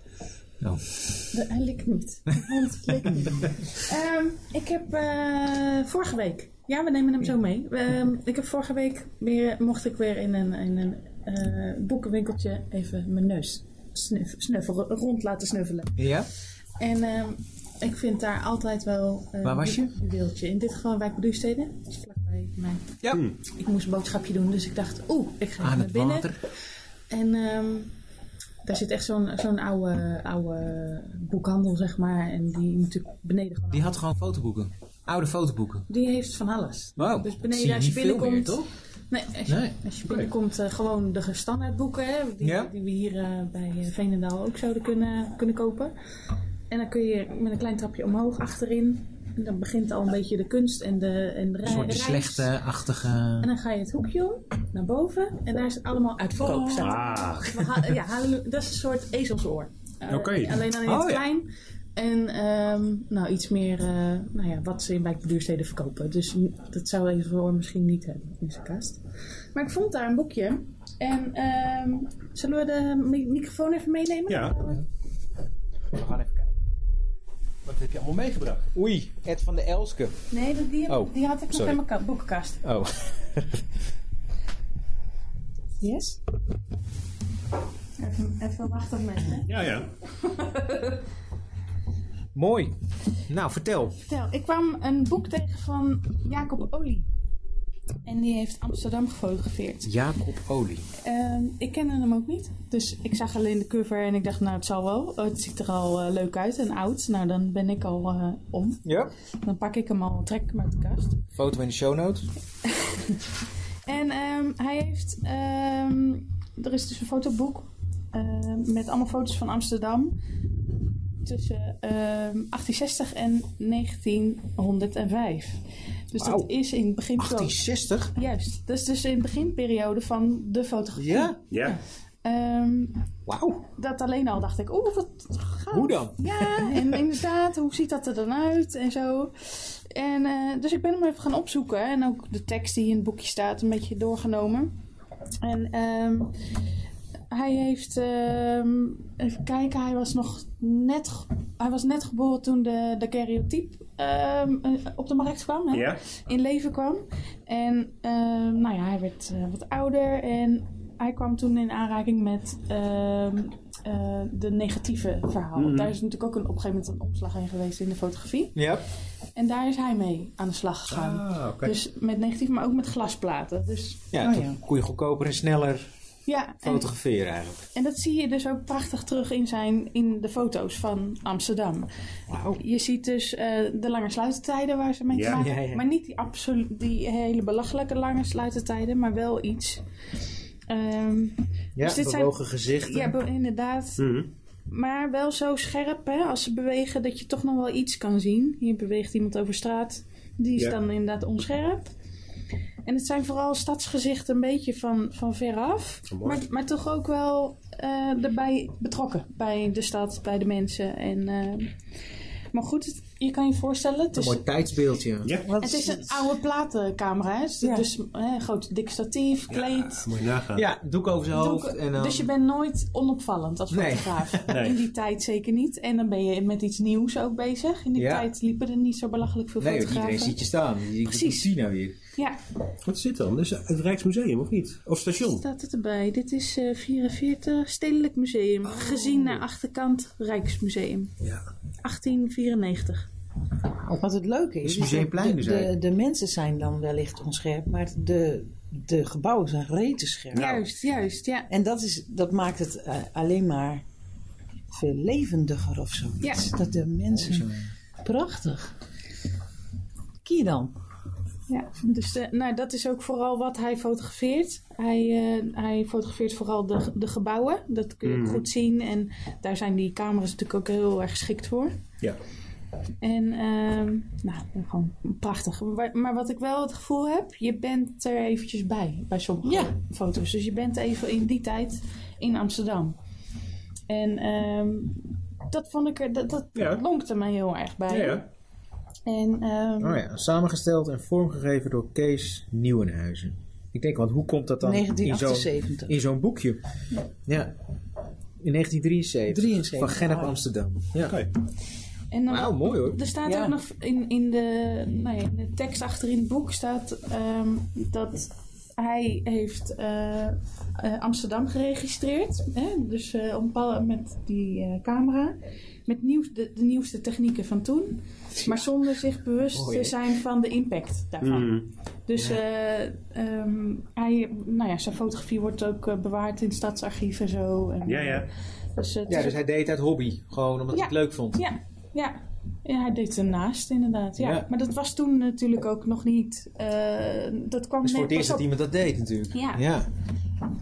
[SPEAKER 4] de, hij likt niet. Want het likt niet. Ehm, ik heb eh, vorige week... Ja, we nemen hem zo mee. Ehm, ik heb vorige week weer, mocht ik weer in een, in een eh, boekenwinkeltje even mijn neus snuff, snuffelen, rond laten snuffelen.
[SPEAKER 1] Ja?
[SPEAKER 4] En ehm, ik vind daar altijd wel... eh,
[SPEAKER 1] Waar was je?
[SPEAKER 4] Een wereldje. In dit geval wijk Beduurstede. Dat is vlakbij mij.
[SPEAKER 1] Ja. Ah,
[SPEAKER 4] Ik moest een boodschapje doen, dus ik dacht, oeh, ik ga even
[SPEAKER 1] Aan
[SPEAKER 4] naar
[SPEAKER 1] het
[SPEAKER 4] binnen.
[SPEAKER 1] water.
[SPEAKER 4] En ehm, daar zit echt zo'n zo'n oude, oude boekhandel, zeg maar. En die natuurlijk beneden gewoon...
[SPEAKER 1] Die had gewoon fotoboeken. Oude fotoboeken.
[SPEAKER 4] Die heeft van alles.
[SPEAKER 1] Wow.
[SPEAKER 4] Dus
[SPEAKER 1] Zie je
[SPEAKER 4] beneden, als je
[SPEAKER 1] niet veel meer,
[SPEAKER 4] binnenkomt...
[SPEAKER 1] toch?
[SPEAKER 4] Nee, als je,
[SPEAKER 1] Nee.
[SPEAKER 4] Als je binnenkomt, eh, gewoon de standaardboeken, hè, die,
[SPEAKER 1] Ja.
[SPEAKER 4] die we hier eh, bij eh, Veenendaal ook zouden kunnen, kunnen kopen. En dan kun je met een klein trapje omhoog achterin. En dan begint al een beetje de kunst en de, en eh, de
[SPEAKER 1] Een
[SPEAKER 4] re-
[SPEAKER 1] soort
[SPEAKER 4] reis.
[SPEAKER 1] slechte-achtige...
[SPEAKER 4] En dan ga je het hoekje om, naar boven. En daar is het allemaal uitverkoop. staat er.
[SPEAKER 2] Ah.
[SPEAKER 4] We ha- ja, halleluja. dat is een soort ezelsoor. Eh,
[SPEAKER 2] Oké.
[SPEAKER 4] Alleen dan in het
[SPEAKER 1] Oh, ja.
[SPEAKER 4] klein. En ehm, nou, iets meer eh, nou ja, wat ze in wijkbeduursteden verkopen. Dus n- dat zou even voor misschien niet hebben in zijn kast. Maar ik vond daar een boekje. En ehm, zullen we de mi- microfoon even meenemen?
[SPEAKER 2] Ja.
[SPEAKER 1] We gaan even kijken.
[SPEAKER 2] Wat heb je allemaal meegebracht?
[SPEAKER 1] Oei, Ed van de Elske.
[SPEAKER 4] Nee, die, die,
[SPEAKER 1] Oh,
[SPEAKER 4] die had ik nog
[SPEAKER 1] sorry.
[SPEAKER 4] in mijn ka- boekenkast.
[SPEAKER 1] Oh.
[SPEAKER 4] Yes? Even Even wachten met hè?
[SPEAKER 2] Ja, ja.
[SPEAKER 1] Mooi. Nou, vertel.
[SPEAKER 4] Vertel, ik kwam een boek tegen van Jacob Olie. En die heeft Amsterdam gefotografeerd.
[SPEAKER 1] Jacob Olie.
[SPEAKER 4] Ehm, ik kende hem ook niet. Dus ik zag alleen de cover en ik dacht, nou het zal wel. Oh, het ziet er al eh, leuk uit en oud. Nou, dan ben ik al eh, om.
[SPEAKER 1] Ja.
[SPEAKER 4] Dan pak ik hem al, trek ik hem uit de kast.
[SPEAKER 1] Foto in de show notes.
[SPEAKER 4] En ehm, hij heeft. ehm, er is dus een fotoboek. ehm, met allemaal foto's van Amsterdam. Tussen ehm 1860 en 1905. Dus
[SPEAKER 1] Wauw.
[SPEAKER 4] dat is in het begin.
[SPEAKER 1] 1860?
[SPEAKER 4] Juist. Dat is dus in het beginperiode van de fotografie.
[SPEAKER 1] Ja.
[SPEAKER 5] Ja.
[SPEAKER 4] Ehm,
[SPEAKER 1] Wauw.
[SPEAKER 4] dat alleen al dacht ik, oeh, wat gaaf.
[SPEAKER 1] Hoe dan?
[SPEAKER 4] Ja, en inderdaad, hoe ziet dat er dan uit en zo. En, eh, dus ik ben hem even gaan opzoeken en ook de tekst die in het boekje staat een beetje doorgenomen. En ehm, hij heeft, ehm, even kijken, hij was nog net, ge- hij was net geboren toen de, de karyotype ehm, eh, op de markt kwam. Hè?
[SPEAKER 5] Ja.
[SPEAKER 4] in leven kwam. En ehm, nou ja, hij werd eh, wat ouder en hij kwam toen in aanraking met ehm, eh, de negatieve verhaal.
[SPEAKER 5] Mhm.
[SPEAKER 4] Daar is natuurlijk ook een, op een gegeven moment een omslag in geweest in de fotografie.
[SPEAKER 1] Ja.
[SPEAKER 4] En daar is hij mee aan de slag gegaan.
[SPEAKER 5] Ah, oké.
[SPEAKER 4] Dus met negatief, maar ook met glasplaten. Dus
[SPEAKER 1] Ja,
[SPEAKER 3] Oh,
[SPEAKER 1] toen
[SPEAKER 3] ja.
[SPEAKER 1] kon je goedkoper en sneller
[SPEAKER 4] ja, en,
[SPEAKER 1] fotograferen eigenlijk.
[SPEAKER 4] en dat zie je dus ook prachtig terug in, zijn, in de foto's van Amsterdam.
[SPEAKER 1] Wauw.
[SPEAKER 4] Je ziet dus eh, de lange sluitertijden waar ze mee
[SPEAKER 5] Ja.
[SPEAKER 4] te maken
[SPEAKER 1] Ja, ja.
[SPEAKER 4] Maar niet die, absolu- die hele belachelijke lange sluitertijden, maar wel iets. Ehm,
[SPEAKER 1] Ja,
[SPEAKER 4] Dus dit zijn-
[SPEAKER 1] bewogen gezichten.
[SPEAKER 4] ja, be- inderdaad.
[SPEAKER 5] Mhm.
[SPEAKER 4] Maar wel zo scherp, hè, als ze bewegen, dat je toch nog wel iets kan zien. Hier beweegt iemand over straat, die is
[SPEAKER 5] Ja.
[SPEAKER 4] dan inderdaad onscherp. En het zijn vooral stadsgezichten een beetje van, van veraf.
[SPEAKER 5] Mooi.
[SPEAKER 4] Maar, maar toch ook wel eh, erbij betrokken. Bij de stad, bij de mensen. En, eh, maar goed, het- je kan je voorstellen. Het
[SPEAKER 1] Een
[SPEAKER 4] is,
[SPEAKER 1] mooi tijdsbeeldje.
[SPEAKER 5] Ja.
[SPEAKER 3] Wat
[SPEAKER 4] het is een oude platencamera. Hè? Dus,
[SPEAKER 3] Ja.
[SPEAKER 4] dus hè, groot dik statief, kleed.
[SPEAKER 2] Moet je nagaan.
[SPEAKER 1] Ja, doek over zijn
[SPEAKER 4] doek.
[SPEAKER 1] hoofd. En dan...
[SPEAKER 4] Dus je bent nooit onopvallend als
[SPEAKER 1] Nee.
[SPEAKER 4] fotograaf.
[SPEAKER 5] Nee.
[SPEAKER 4] In die tijd zeker niet. En dan ben je met iets nieuws ook bezig. In die
[SPEAKER 1] Ja.
[SPEAKER 4] tijd liepen er niet zo belachelijk veel
[SPEAKER 1] Nee,
[SPEAKER 4] fotografen.
[SPEAKER 1] iedereen ziet je staan. Je ziet
[SPEAKER 4] Precies.
[SPEAKER 1] Tina weer.
[SPEAKER 4] Ja,
[SPEAKER 2] Wat zit dan? Is het Rijksmuseum of niet? Of station?
[SPEAKER 4] staat het erbij. Dit is eh, 44, Stedelijk
[SPEAKER 1] Oh.
[SPEAKER 4] Museum. Gezien naar achterkant Rijksmuseum.
[SPEAKER 2] Ja.
[SPEAKER 4] 1894.
[SPEAKER 3] Nou, Wat het leuke
[SPEAKER 1] Is
[SPEAKER 3] is,
[SPEAKER 1] Museumplein
[SPEAKER 3] de,
[SPEAKER 1] dus
[SPEAKER 3] de,
[SPEAKER 1] eigenlijk?
[SPEAKER 3] de mensen zijn dan wellicht onscherp, maar de, de gebouwen zijn rete
[SPEAKER 1] Nou.
[SPEAKER 3] scherp.
[SPEAKER 4] Juist, juist, ja.
[SPEAKER 3] En dat, is, dat maakt het eh, alleen maar veel levendiger of zo. Dus
[SPEAKER 4] Ja.
[SPEAKER 3] Dat de mensen... Prachtig. Kiedan.
[SPEAKER 4] Ja, dus eh, nou, dat is ook vooral wat hij fotografeert. Hij, eh, hij fotografeert vooral de, de gebouwen. Dat kun je ook goed zien. En daar zijn die camera's natuurlijk ook heel erg geschikt voor.
[SPEAKER 2] Ja.
[SPEAKER 4] En ehm, nou, gewoon prachtig. Maar, maar wat ik wel het gevoel heb, je bent er eventjes bij, bij sommige
[SPEAKER 3] Ja.
[SPEAKER 4] foto's. Dus je bent even in die tijd in Amsterdam. En ehm, dat vond ik er, dat, dat
[SPEAKER 5] Ja.
[SPEAKER 4] lonkte mij heel erg bij.
[SPEAKER 5] Ja.
[SPEAKER 4] En ehm,
[SPEAKER 1] Oh ja, samengesteld en vormgegeven door Kees Nieuwenhuizen. Ik denk, want hoe komt dat dan in zo'n
[SPEAKER 3] 1978.
[SPEAKER 1] in zo'n boekje? Ja, in 1973.
[SPEAKER 3] 73,
[SPEAKER 1] Van Gennep
[SPEAKER 4] Oh.
[SPEAKER 3] ah.
[SPEAKER 1] Amsterdam. Ja.
[SPEAKER 2] Oké.
[SPEAKER 4] en dan
[SPEAKER 1] Wauw, mooi hoor.
[SPEAKER 4] Er staat
[SPEAKER 3] Ja.
[SPEAKER 4] ook nog in, in, de, nou ja, in de tekst achter in het boek staat ehm, dat hij heeft eh, eh, Amsterdam geregistreerd. Hè? Dus eh, om pa- met die eh, camera. Met nieuws, de, de nieuwste technieken van toen. Maar zonder zich bewust
[SPEAKER 1] Mooi, hè?
[SPEAKER 4] te zijn van de impact daarvan. Dus eh, ehm, hij, nou ja, zijn fotografie wordt ook eh, bewaard in stadsarchieven en zo. En,
[SPEAKER 5] Ja, ja.
[SPEAKER 4] Dus, het
[SPEAKER 1] Ja,
[SPEAKER 4] is
[SPEAKER 1] dus
[SPEAKER 4] ook-
[SPEAKER 1] hij deed het uit hobby. Gewoon omdat hij
[SPEAKER 4] Ja.
[SPEAKER 1] het leuk vond.
[SPEAKER 4] ja, ja. ja hij deed ernaast inderdaad. Ja.
[SPEAKER 1] Ja.
[SPEAKER 4] Maar dat was toen natuurlijk ook nog niet. eh, dat kwam
[SPEAKER 1] Dat is voor
[SPEAKER 4] net
[SPEAKER 1] het eerst
[SPEAKER 4] pas
[SPEAKER 1] dat
[SPEAKER 4] op.
[SPEAKER 1] iemand dat deed natuurlijk.
[SPEAKER 4] Ja.
[SPEAKER 1] ja.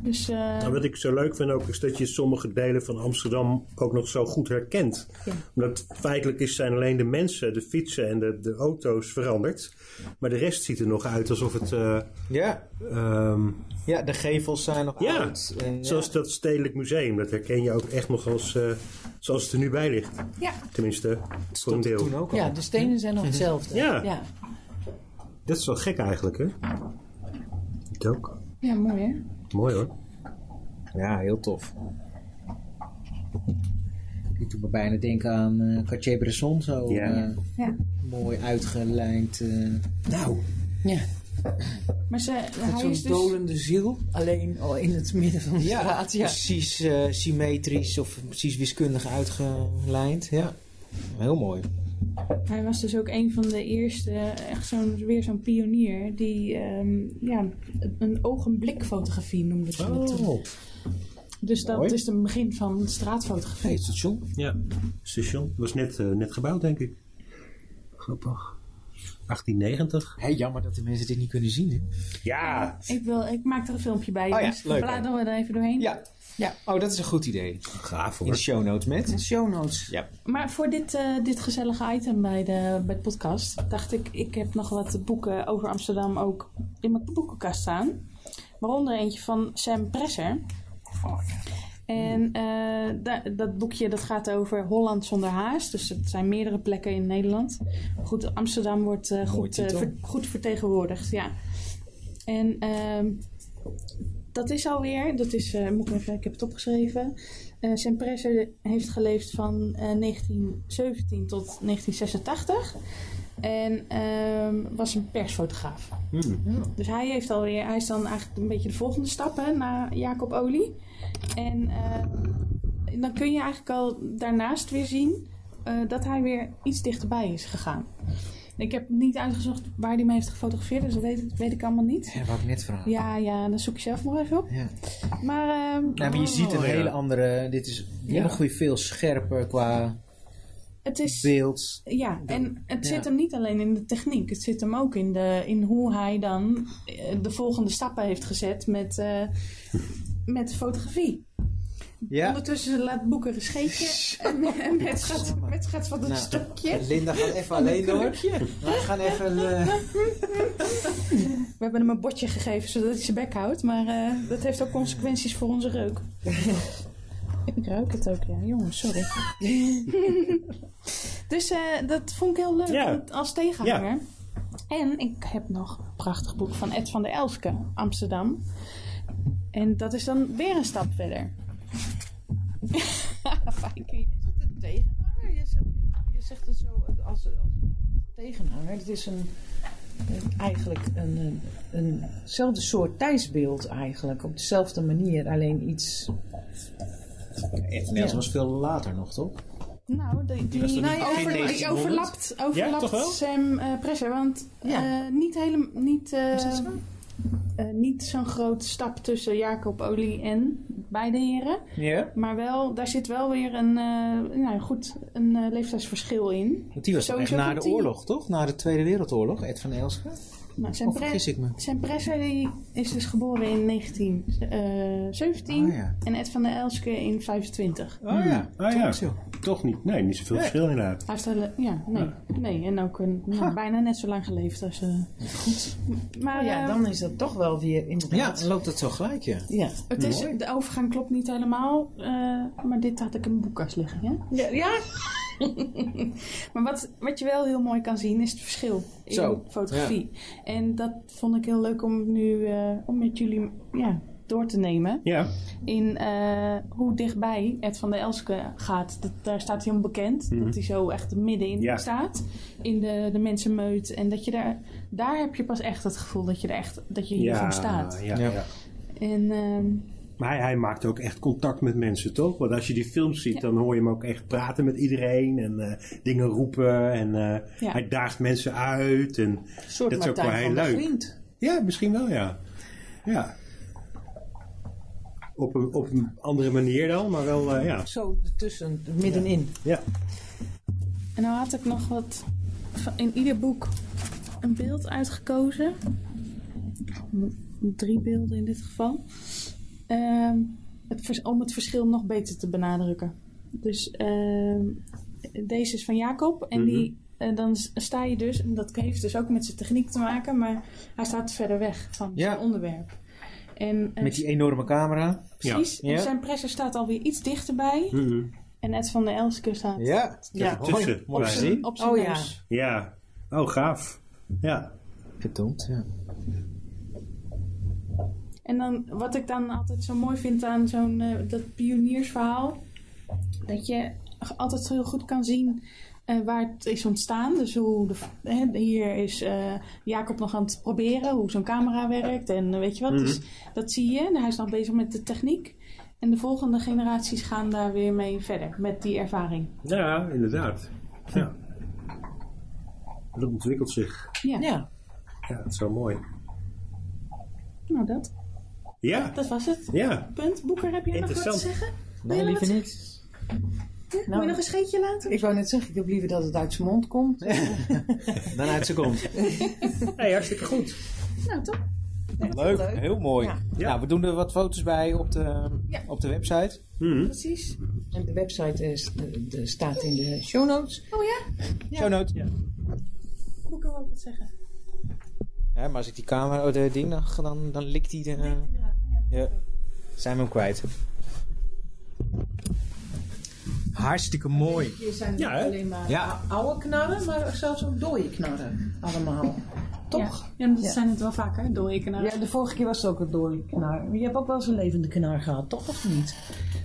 [SPEAKER 4] Dus eh,
[SPEAKER 5] En Nou, wat ik zo leuk vind ook is dat je sommige delen van Amsterdam ook nog zo goed herkent.
[SPEAKER 4] Ja.
[SPEAKER 5] Omdat feitelijk is zijn alleen de mensen, de fietsen en de, de auto's veranderd. Maar de rest ziet er nog uit alsof het... eh,
[SPEAKER 1] Ja.
[SPEAKER 5] ehm,
[SPEAKER 1] Ja, de gevels zijn nog
[SPEAKER 5] Ja.
[SPEAKER 1] oud. En,
[SPEAKER 5] zoals dat Stedelijk Museum, dat herken je ook echt nog als, eh, zoals het er nu bij ligt.
[SPEAKER 4] ja.
[SPEAKER 5] Tenminste, voor een
[SPEAKER 1] ja, toen
[SPEAKER 5] deel.
[SPEAKER 1] ook al.
[SPEAKER 3] Ja, de stenen zijn nog hetzelfde.
[SPEAKER 5] Ja.
[SPEAKER 3] ja.
[SPEAKER 5] Dat is wel gek eigenlijk, hè? Dit ook.
[SPEAKER 4] ja, mooi hè.
[SPEAKER 5] Mooi hoor.
[SPEAKER 1] Ja, heel tof. Ik doe me bijna denken aan eh, Cartier-Bresson, zo
[SPEAKER 5] Ja.
[SPEAKER 1] eh,
[SPEAKER 4] Ja.
[SPEAKER 1] mooi uitgelijnd. eh. nou,
[SPEAKER 3] Ja.
[SPEAKER 4] Maar ze,
[SPEAKER 3] Met
[SPEAKER 4] hij
[SPEAKER 3] zo'n
[SPEAKER 4] is dus...
[SPEAKER 3] dolende ziel, alleen al in het midden van de straat. Ja.
[SPEAKER 1] precies eh, symmetrisch of precies wiskundig uitgelijnd. Ja, heel mooi.
[SPEAKER 4] Hij was dus ook een van de eerste, echt zo'n, weer zo'n pionier, die ehm, ja, een ogenblikfotografie noemde ze het toen.
[SPEAKER 1] Oh,
[SPEAKER 4] Dus dat
[SPEAKER 1] mooi.
[SPEAKER 4] is het begin van straatfotografie.
[SPEAKER 1] hey, het station.
[SPEAKER 2] Ja, station. Was net, eh, net gebouwd, denk ik. Grappig. 1890.
[SPEAKER 1] Hey, jammer dat de mensen dit niet kunnen zien. Hè?
[SPEAKER 2] Ja,
[SPEAKER 4] Ik, wil, ik maak er een filmpje bij.
[SPEAKER 1] Oh ja,
[SPEAKER 4] dus
[SPEAKER 1] leuk.
[SPEAKER 4] bladeren we er even doorheen.
[SPEAKER 1] Ja, ja. Oh, dat is een goed idee.
[SPEAKER 2] gaaf
[SPEAKER 1] In de
[SPEAKER 2] hoor.
[SPEAKER 1] show notes met.
[SPEAKER 3] Show notes.
[SPEAKER 1] Ja.
[SPEAKER 4] Maar voor dit, eh, dit gezellige item bij de, bij de podcast, dacht ik, ik heb nog wat boeken over Amsterdam ook in mijn boekenkast staan. Waaronder eentje van Sam Presser. En eh, da- dat boekje dat gaat over Holland zonder haast. Dus het zijn meerdere plekken in Nederland. Goed, Amsterdam wordt eh, goed, eh,
[SPEAKER 1] titel.
[SPEAKER 4] ver- goed vertegenwoordigd. Ja. En ehm, dat is alweer, dat is, eh, moet ik, even, ik heb het opgeschreven. Eh Sam Presser heeft geleefd van eh, 1917 tot 1986. En ehm, was een persfotograaf. Dus hij, heeft alweer, hij is dan eigenlijk een beetje de volgende stap hè, na Jacob Olie. En eh, dan kun je eigenlijk al daarnaast weer zien eh, dat hij weer iets dichterbij is gegaan. Ik heb niet uitgezocht waar hij mee heeft gefotografeerd, dus dat weet, weet ik allemaal niet.
[SPEAKER 1] Ja, wou ik net vragen.
[SPEAKER 4] Ja, ja, dat zoek je zelf nog even op.
[SPEAKER 1] Ja.
[SPEAKER 4] Maar ehm,
[SPEAKER 1] Nou, maar je ziet een
[SPEAKER 2] ja.
[SPEAKER 1] hele andere. Dit is nog weer veel scherper qua
[SPEAKER 4] het is.
[SPEAKER 1] beeld.
[SPEAKER 4] Ja, en het
[SPEAKER 1] ja.
[SPEAKER 4] zit hem niet alleen in de techniek. Het zit hem ook in, de, in hoe hij dan eh, de volgende stappen heeft gezet met, eh, met fotografie.
[SPEAKER 1] Ja. Oh,
[SPEAKER 4] Ondertussen laat Boeker een scheetje en, en met, schat, met schat van het
[SPEAKER 1] Nou,
[SPEAKER 4] stukje.
[SPEAKER 1] Linda gaat even alleen door. Wij gaan even. eh,
[SPEAKER 4] We hebben hem een bordje gegeven zodat hij zijn bek houdt, maar eh, dat heeft ook consequenties voor onze reuk. ik ruik het ook, ja. Jongens, sorry. dus eh, dat vond ik heel leuk
[SPEAKER 2] Ja.
[SPEAKER 4] om- als tegenhanger. En ik heb nog een prachtig boek van Ed van der Elske, Amsterdam. En dat is dan weer een stap verder. Fijn, kun je-
[SPEAKER 3] Is het een tegenhanger? Je zegt, je zegt het zo als, als een tegenhanger. Het is een, een- eigenlijk een, een, eenzelfde soort tijdsbeeld eigenlijk. Op dezelfde manier, alleen iets...
[SPEAKER 1] Echt, nee, dat was veel later nog, toch?
[SPEAKER 4] Nou, die, die,
[SPEAKER 1] was toch
[SPEAKER 4] nou,
[SPEAKER 1] niet
[SPEAKER 4] ja,
[SPEAKER 1] begin
[SPEAKER 4] overla-
[SPEAKER 1] 1900?
[SPEAKER 4] overlapt, overlapt
[SPEAKER 2] toch wel?
[SPEAKER 4] Sam eh Presser. Want
[SPEAKER 3] Ja.
[SPEAKER 4] eh, niet, helemaal niet, eh,
[SPEAKER 3] Is dat zo?
[SPEAKER 4] eh, niet zo'n grote stap tussen Jacob Olie en beide heren.
[SPEAKER 1] Ja.
[SPEAKER 4] Maar wel, daar zit wel weer een, eh, nou, goed, een eh, leeftijdsverschil in.
[SPEAKER 1] Want die was toch echt
[SPEAKER 4] Sowieso
[SPEAKER 1] na
[SPEAKER 4] van
[SPEAKER 1] de
[SPEAKER 4] tien.
[SPEAKER 1] oorlog, toch? Na de Tweede Wereldoorlog, Ed van Elske.
[SPEAKER 4] Nou, Sam,
[SPEAKER 1] Of
[SPEAKER 4] Pre-
[SPEAKER 1] vergis ik me?
[SPEAKER 4] Sam Presser die is dus geboren in 1917
[SPEAKER 3] Ah,
[SPEAKER 1] Oh, ja.
[SPEAKER 4] en Ed van der Elske in 25.
[SPEAKER 2] Oh ja, oh, ja.
[SPEAKER 1] Toch, joh.
[SPEAKER 2] toch niet. Nee, niet zoveel verschil inderdaad.
[SPEAKER 4] Hij heeft hele- ja, nee,
[SPEAKER 3] Ah.
[SPEAKER 4] nee. En ook een, nou, bijna net zo lang geleefd als... Goed. Maar
[SPEAKER 3] Oh ja,
[SPEAKER 4] eh,
[SPEAKER 3] dan is dat toch wel weer
[SPEAKER 1] Ja,
[SPEAKER 3] inderdaad...
[SPEAKER 1] dan loopt dat zo gelijk, ja.
[SPEAKER 3] Ja.
[SPEAKER 4] het is, de overgang klopt niet helemaal. eh, maar dit had ik in mijn boekkast liggen, hè?
[SPEAKER 3] Ja, ja.
[SPEAKER 4] maar wat, wat je wel heel mooi kan zien is het verschil in
[SPEAKER 1] Zo,
[SPEAKER 4] fotografie. En dat vond ik heel leuk om nu eh, om met jullie ja, door te nemen.
[SPEAKER 2] Ja,
[SPEAKER 4] In eh, hoe dichtbij Ed van der Elske gaat. Dat, daar staat hij onbekend. Dat hij zo echt middenin
[SPEAKER 2] Mhm. Ja.
[SPEAKER 4] staat. In de, de mensenmeut. En dat je daar... Daar heb je pas echt het gevoel dat je, er echt, dat je hiervoor
[SPEAKER 2] ja,
[SPEAKER 4] staat.
[SPEAKER 2] ja,
[SPEAKER 1] Ja.
[SPEAKER 2] ja.
[SPEAKER 4] En... ehm,
[SPEAKER 2] Maar hij, hij maakt ook echt contact met mensen, toch? Want als je die films ziet, dan hoor je hem ook echt praten met iedereen. En eh, dingen roepen. En eh,
[SPEAKER 4] Ja.
[SPEAKER 2] hij daagt mensen uit. En
[SPEAKER 3] Een soort
[SPEAKER 2] Dat is ook
[SPEAKER 3] Martijn
[SPEAKER 2] wel heel
[SPEAKER 3] van der
[SPEAKER 2] leuk.
[SPEAKER 3] Vriend.
[SPEAKER 2] Ja, misschien wel, ja. Ja. Op een, op een andere manier dan, maar wel, eh, ja.
[SPEAKER 3] Zo ertussen, middenin.
[SPEAKER 2] ja.
[SPEAKER 4] En nou had ik nog wat van- in ieder boek een beeld uitgekozen. Drie beelden in dit geval. Ehm, het vers- om het verschil nog beter te benadrukken. Dus ehm, deze is van Jacob. En die,
[SPEAKER 1] Mhm.
[SPEAKER 4] eh, dan s- sta je dus, en dat heeft dus ook met zijn techniek te maken, maar hij staat verder weg van
[SPEAKER 1] Ja.
[SPEAKER 4] zijn onderwerp. En, eh,
[SPEAKER 1] Met die enorme camera.
[SPEAKER 4] precies,
[SPEAKER 1] Ja. Ja.
[SPEAKER 4] en zijn presser staat alweer iets dichterbij. En Ed van der Elske staat
[SPEAKER 1] Ja.
[SPEAKER 2] Ja, Hm. tussen.
[SPEAKER 1] Mooi
[SPEAKER 2] Ja.
[SPEAKER 1] gezien.
[SPEAKER 4] op zijn
[SPEAKER 3] Oh ja.
[SPEAKER 4] neus.
[SPEAKER 2] Ja. Oh, gaaf. Ja.
[SPEAKER 1] Verdomd, ja.
[SPEAKER 4] En dan wat ik dan altijd zo mooi vind aan zo'n eh, dat pioniersverhaal. Dat je altijd zo heel goed kan zien eh, waar het is ontstaan. Dus hoe de, hè, hier is eh, Jacob nog aan het proberen hoe zo'n camera werkt en eh, weet je wat. Dus
[SPEAKER 1] Mhm.
[SPEAKER 4] dat zie je. En hij is nog bezig met de techniek. En de volgende generaties gaan daar weer mee verder met die ervaring.
[SPEAKER 2] Ja, inderdaad. Ja. Dat ontwikkelt zich.
[SPEAKER 4] Ja,
[SPEAKER 3] Ja,
[SPEAKER 2] Ja, het is wel mooi.
[SPEAKER 4] nou dat.
[SPEAKER 2] Ja,
[SPEAKER 4] Dat was het.
[SPEAKER 2] ja.
[SPEAKER 4] Punt. Boeker, heb jij nog wat te
[SPEAKER 2] Interessant.
[SPEAKER 4] zeggen?
[SPEAKER 1] Nee, liever niet. Nou.
[SPEAKER 4] Wil je nog een scheetje laten?
[SPEAKER 3] ik wou net zeggen, ik heb liever dat het uit zijn mond komt.
[SPEAKER 1] Dan uit ze komt.
[SPEAKER 2] Hey, hartstikke goed.
[SPEAKER 4] Nou, toch?
[SPEAKER 1] Leuk,
[SPEAKER 3] leuk.
[SPEAKER 1] heel mooi.
[SPEAKER 3] Ja.
[SPEAKER 2] Ja.
[SPEAKER 1] Nou, we doen er wat foto's bij op de, op de website.
[SPEAKER 2] Mhm.
[SPEAKER 4] Precies.
[SPEAKER 3] En de website eh, s- de- de- staat in de show notes.
[SPEAKER 4] Oh ja,
[SPEAKER 1] Show note. Ja.
[SPEAKER 4] Boeker wou ook wat zeggen.
[SPEAKER 1] maar als ik die camera, oh, de ding, dan, dan, dan likt hij de... ja. Zijn we hem kwijt. Hartstikke mooi.
[SPEAKER 3] Hier zijn
[SPEAKER 2] Ja, hè?
[SPEAKER 3] niet alleen maar
[SPEAKER 1] Ja.
[SPEAKER 3] oude knarren, maar zelfs ook dode knarren. Allemaal. Toch?
[SPEAKER 4] Ja, ja dat
[SPEAKER 3] Ja.
[SPEAKER 4] zijn het wel vaker, dode kanalen.
[SPEAKER 3] Ja, de vorige keer was het ook een dode knar. Maar Je hebt ook wel eens een levende knar gehad, toch? Of niet?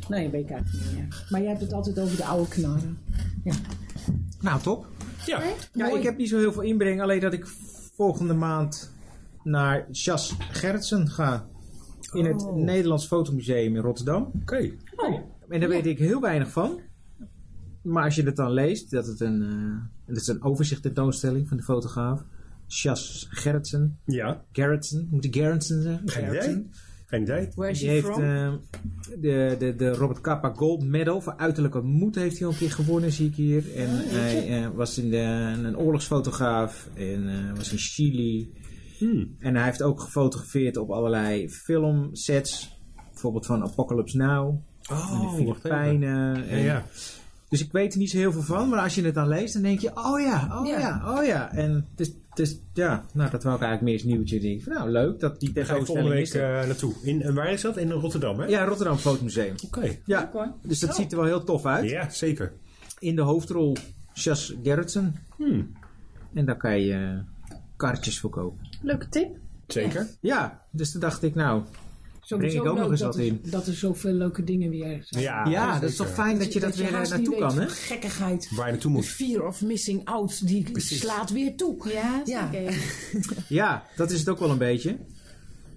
[SPEAKER 3] Nee, dat weet ik eigenlijk niet meer. Maar jij hebt het altijd over de oude knarren.
[SPEAKER 1] Nou, top.
[SPEAKER 2] Ja.
[SPEAKER 1] Ja, ik heb niet zo heel veel inbreng, alleen dat ik volgende maand naar Jas Gerritsen ga. In het
[SPEAKER 3] Oh.
[SPEAKER 1] Nederlands Fotomuseum in Rotterdam.
[SPEAKER 2] Oké.
[SPEAKER 1] En daar weet ik heel weinig van. Maar als je het dan leest, dat het een, eh dat is een overzicht tentoonstelling van de fotograaf. Chas Gerritsen.
[SPEAKER 2] Ja.
[SPEAKER 1] Gerritsen, moet ik Gerritsen zeggen?
[SPEAKER 2] Geen idee.
[SPEAKER 1] Gerritsen.
[SPEAKER 2] Geen idee.
[SPEAKER 3] Where is
[SPEAKER 1] Die
[SPEAKER 3] she
[SPEAKER 1] heeft
[SPEAKER 3] from?
[SPEAKER 1] eh, de, de, de Robert Capa Gold Medal voor uiterlijke moed heeft hij al een keer gewonnen, zie ik hier. En hij eh, was in de, een oorlogsfotograaf en eh, was in Chili.
[SPEAKER 2] Hmm.
[SPEAKER 1] En hij heeft ook gefotografeerd op allerlei filmsets. Bijvoorbeeld van Apocalypse Now. en de Filipijnen.
[SPEAKER 2] Oh, Ja,
[SPEAKER 1] en-
[SPEAKER 2] ja.
[SPEAKER 1] Dus ik weet er niet zo heel veel van. Maar als je het dan leest, dan denk je... Oh ja, oh ja,
[SPEAKER 3] Ja.
[SPEAKER 1] oh ja. En dus, dus ja, nou, dat wou ik eigenlijk meer eens nieuwtje. Denk ik van, nou, leuk dat die
[SPEAKER 2] Ga ik volgende
[SPEAKER 1] tentoonstelling is.
[SPEAKER 2] week
[SPEAKER 1] er.
[SPEAKER 2] eh, naartoe. In, en waar is dat? In Rotterdam, hè?
[SPEAKER 1] Ja, Rotterdam Fotomuseum.
[SPEAKER 2] Oké.
[SPEAKER 1] Ja, dus dat ziet er wel heel tof uit.
[SPEAKER 2] Ja, zeker.
[SPEAKER 1] In de hoofdrol Chas Gerritsen.
[SPEAKER 2] Hmm.
[SPEAKER 1] En daar kan je eh, kaartjes voor kopen.
[SPEAKER 4] Leuke tip.
[SPEAKER 2] Zeker.
[SPEAKER 1] Ja, dus toen dacht ik, nou...
[SPEAKER 2] Ah,
[SPEAKER 3] Sowieso
[SPEAKER 1] breng ik ook
[SPEAKER 3] leuk
[SPEAKER 1] nog eens
[SPEAKER 3] dat
[SPEAKER 1] wat
[SPEAKER 3] er-
[SPEAKER 1] in.
[SPEAKER 3] Dat er zoveel leuke dingen weer zijn.
[SPEAKER 2] Ja,
[SPEAKER 1] ja, dat is
[SPEAKER 2] zeker.
[SPEAKER 1] toch fijn dat je dat, weer eh,
[SPEAKER 3] haast
[SPEAKER 1] naartoe
[SPEAKER 3] niet
[SPEAKER 1] kan,
[SPEAKER 3] weet
[SPEAKER 1] hè?
[SPEAKER 3] van Gekkigheid.
[SPEAKER 2] Waar je naartoe
[SPEAKER 3] De
[SPEAKER 2] moet.
[SPEAKER 3] fear of missing out, die slaat weer toe.
[SPEAKER 4] Ja,
[SPEAKER 3] Ja.
[SPEAKER 4] zeker.
[SPEAKER 1] Ja, dat is het ook wel een beetje.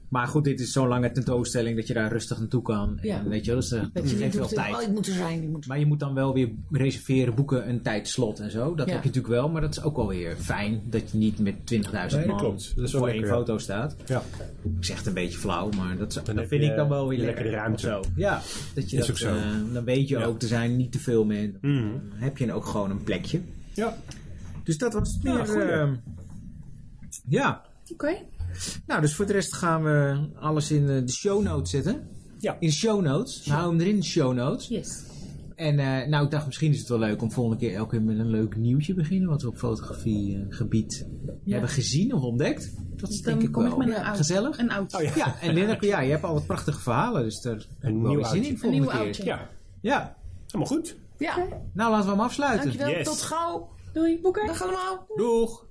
[SPEAKER 1] Maar goed, dit is zo'n lange tentoonstelling dat je daar rustig naartoe kan. En,
[SPEAKER 3] Ja.
[SPEAKER 1] Weet je, wel, dus, eh,
[SPEAKER 3] Dat je
[SPEAKER 1] geeft
[SPEAKER 3] niet
[SPEAKER 1] wel
[SPEAKER 3] hoeft te- Oh,
[SPEAKER 1] tijd.
[SPEAKER 3] ik moet er zijn, ik moet er
[SPEAKER 1] Maar je moet dan wel weer reserveren, boeken, een tijdslot en zo. Dat
[SPEAKER 3] Ja.
[SPEAKER 1] heb je natuurlijk wel, maar dat is ook wel weer fijn dat je niet met 20.000
[SPEAKER 2] Nee, dat
[SPEAKER 1] man
[SPEAKER 2] klopt. Dat is wel
[SPEAKER 1] voor
[SPEAKER 2] lekker,
[SPEAKER 1] één
[SPEAKER 2] ja.
[SPEAKER 1] foto staat.
[SPEAKER 2] Ja.
[SPEAKER 1] Ik zeg het een beetje flauw, maar dat, is- dat
[SPEAKER 2] heb
[SPEAKER 1] vind
[SPEAKER 2] je
[SPEAKER 1] ik dan wel weer
[SPEAKER 2] lekker
[SPEAKER 1] lekker.
[SPEAKER 2] de ruimte.
[SPEAKER 1] Zo. Ja, dat je
[SPEAKER 2] Is
[SPEAKER 1] dat,
[SPEAKER 2] ook zo.
[SPEAKER 1] eh, dan weet je
[SPEAKER 2] Ja.
[SPEAKER 1] ook, er zijn niet te veel meer.
[SPEAKER 2] Mhm.
[SPEAKER 1] Dan heb je ook gewoon een plekje.
[SPEAKER 2] Ja.
[SPEAKER 1] Dus dat was het
[SPEAKER 2] Ja,
[SPEAKER 1] weer.
[SPEAKER 2] goeie.
[SPEAKER 1] ehm, ja,
[SPEAKER 4] Oké.
[SPEAKER 1] nou, dus voor de rest gaan we alles in eh, de show notes zetten.
[SPEAKER 2] Ja.
[SPEAKER 1] In show notes. Hou hem erin, in show notes.
[SPEAKER 4] Yes.
[SPEAKER 1] En eh, nou, ik dacht misschien is het wel leuk om volgende keer elke keer met een leuk nieuwtje beginnen. Wat we op fotografiegebied hebben gezien of ontdekt. Dat is
[SPEAKER 4] Dan
[SPEAKER 1] denk ik
[SPEAKER 4] kom ik
[SPEAKER 1] wel
[SPEAKER 4] met een oud-
[SPEAKER 1] gezellig.
[SPEAKER 4] Een oud.
[SPEAKER 2] Oh ja.
[SPEAKER 1] Ja, en Lennart, ja, je hebt al wat prachtige verhalen. Dus daar heb ik wel
[SPEAKER 2] nieuw
[SPEAKER 1] weer zin
[SPEAKER 2] oudje.
[SPEAKER 1] in
[SPEAKER 4] Een
[SPEAKER 1] volgende
[SPEAKER 4] nieuwe
[SPEAKER 1] keer.
[SPEAKER 4] oudje.
[SPEAKER 2] Ja.
[SPEAKER 1] Ja,
[SPEAKER 2] Helemaal goed.
[SPEAKER 3] Ja,
[SPEAKER 1] nou laten we hem afsluiten.
[SPEAKER 3] dankjewel.
[SPEAKER 2] Yes.
[SPEAKER 3] Tot gauw.
[SPEAKER 4] Doei, Boeker.
[SPEAKER 3] Dag allemaal.
[SPEAKER 1] Doeg!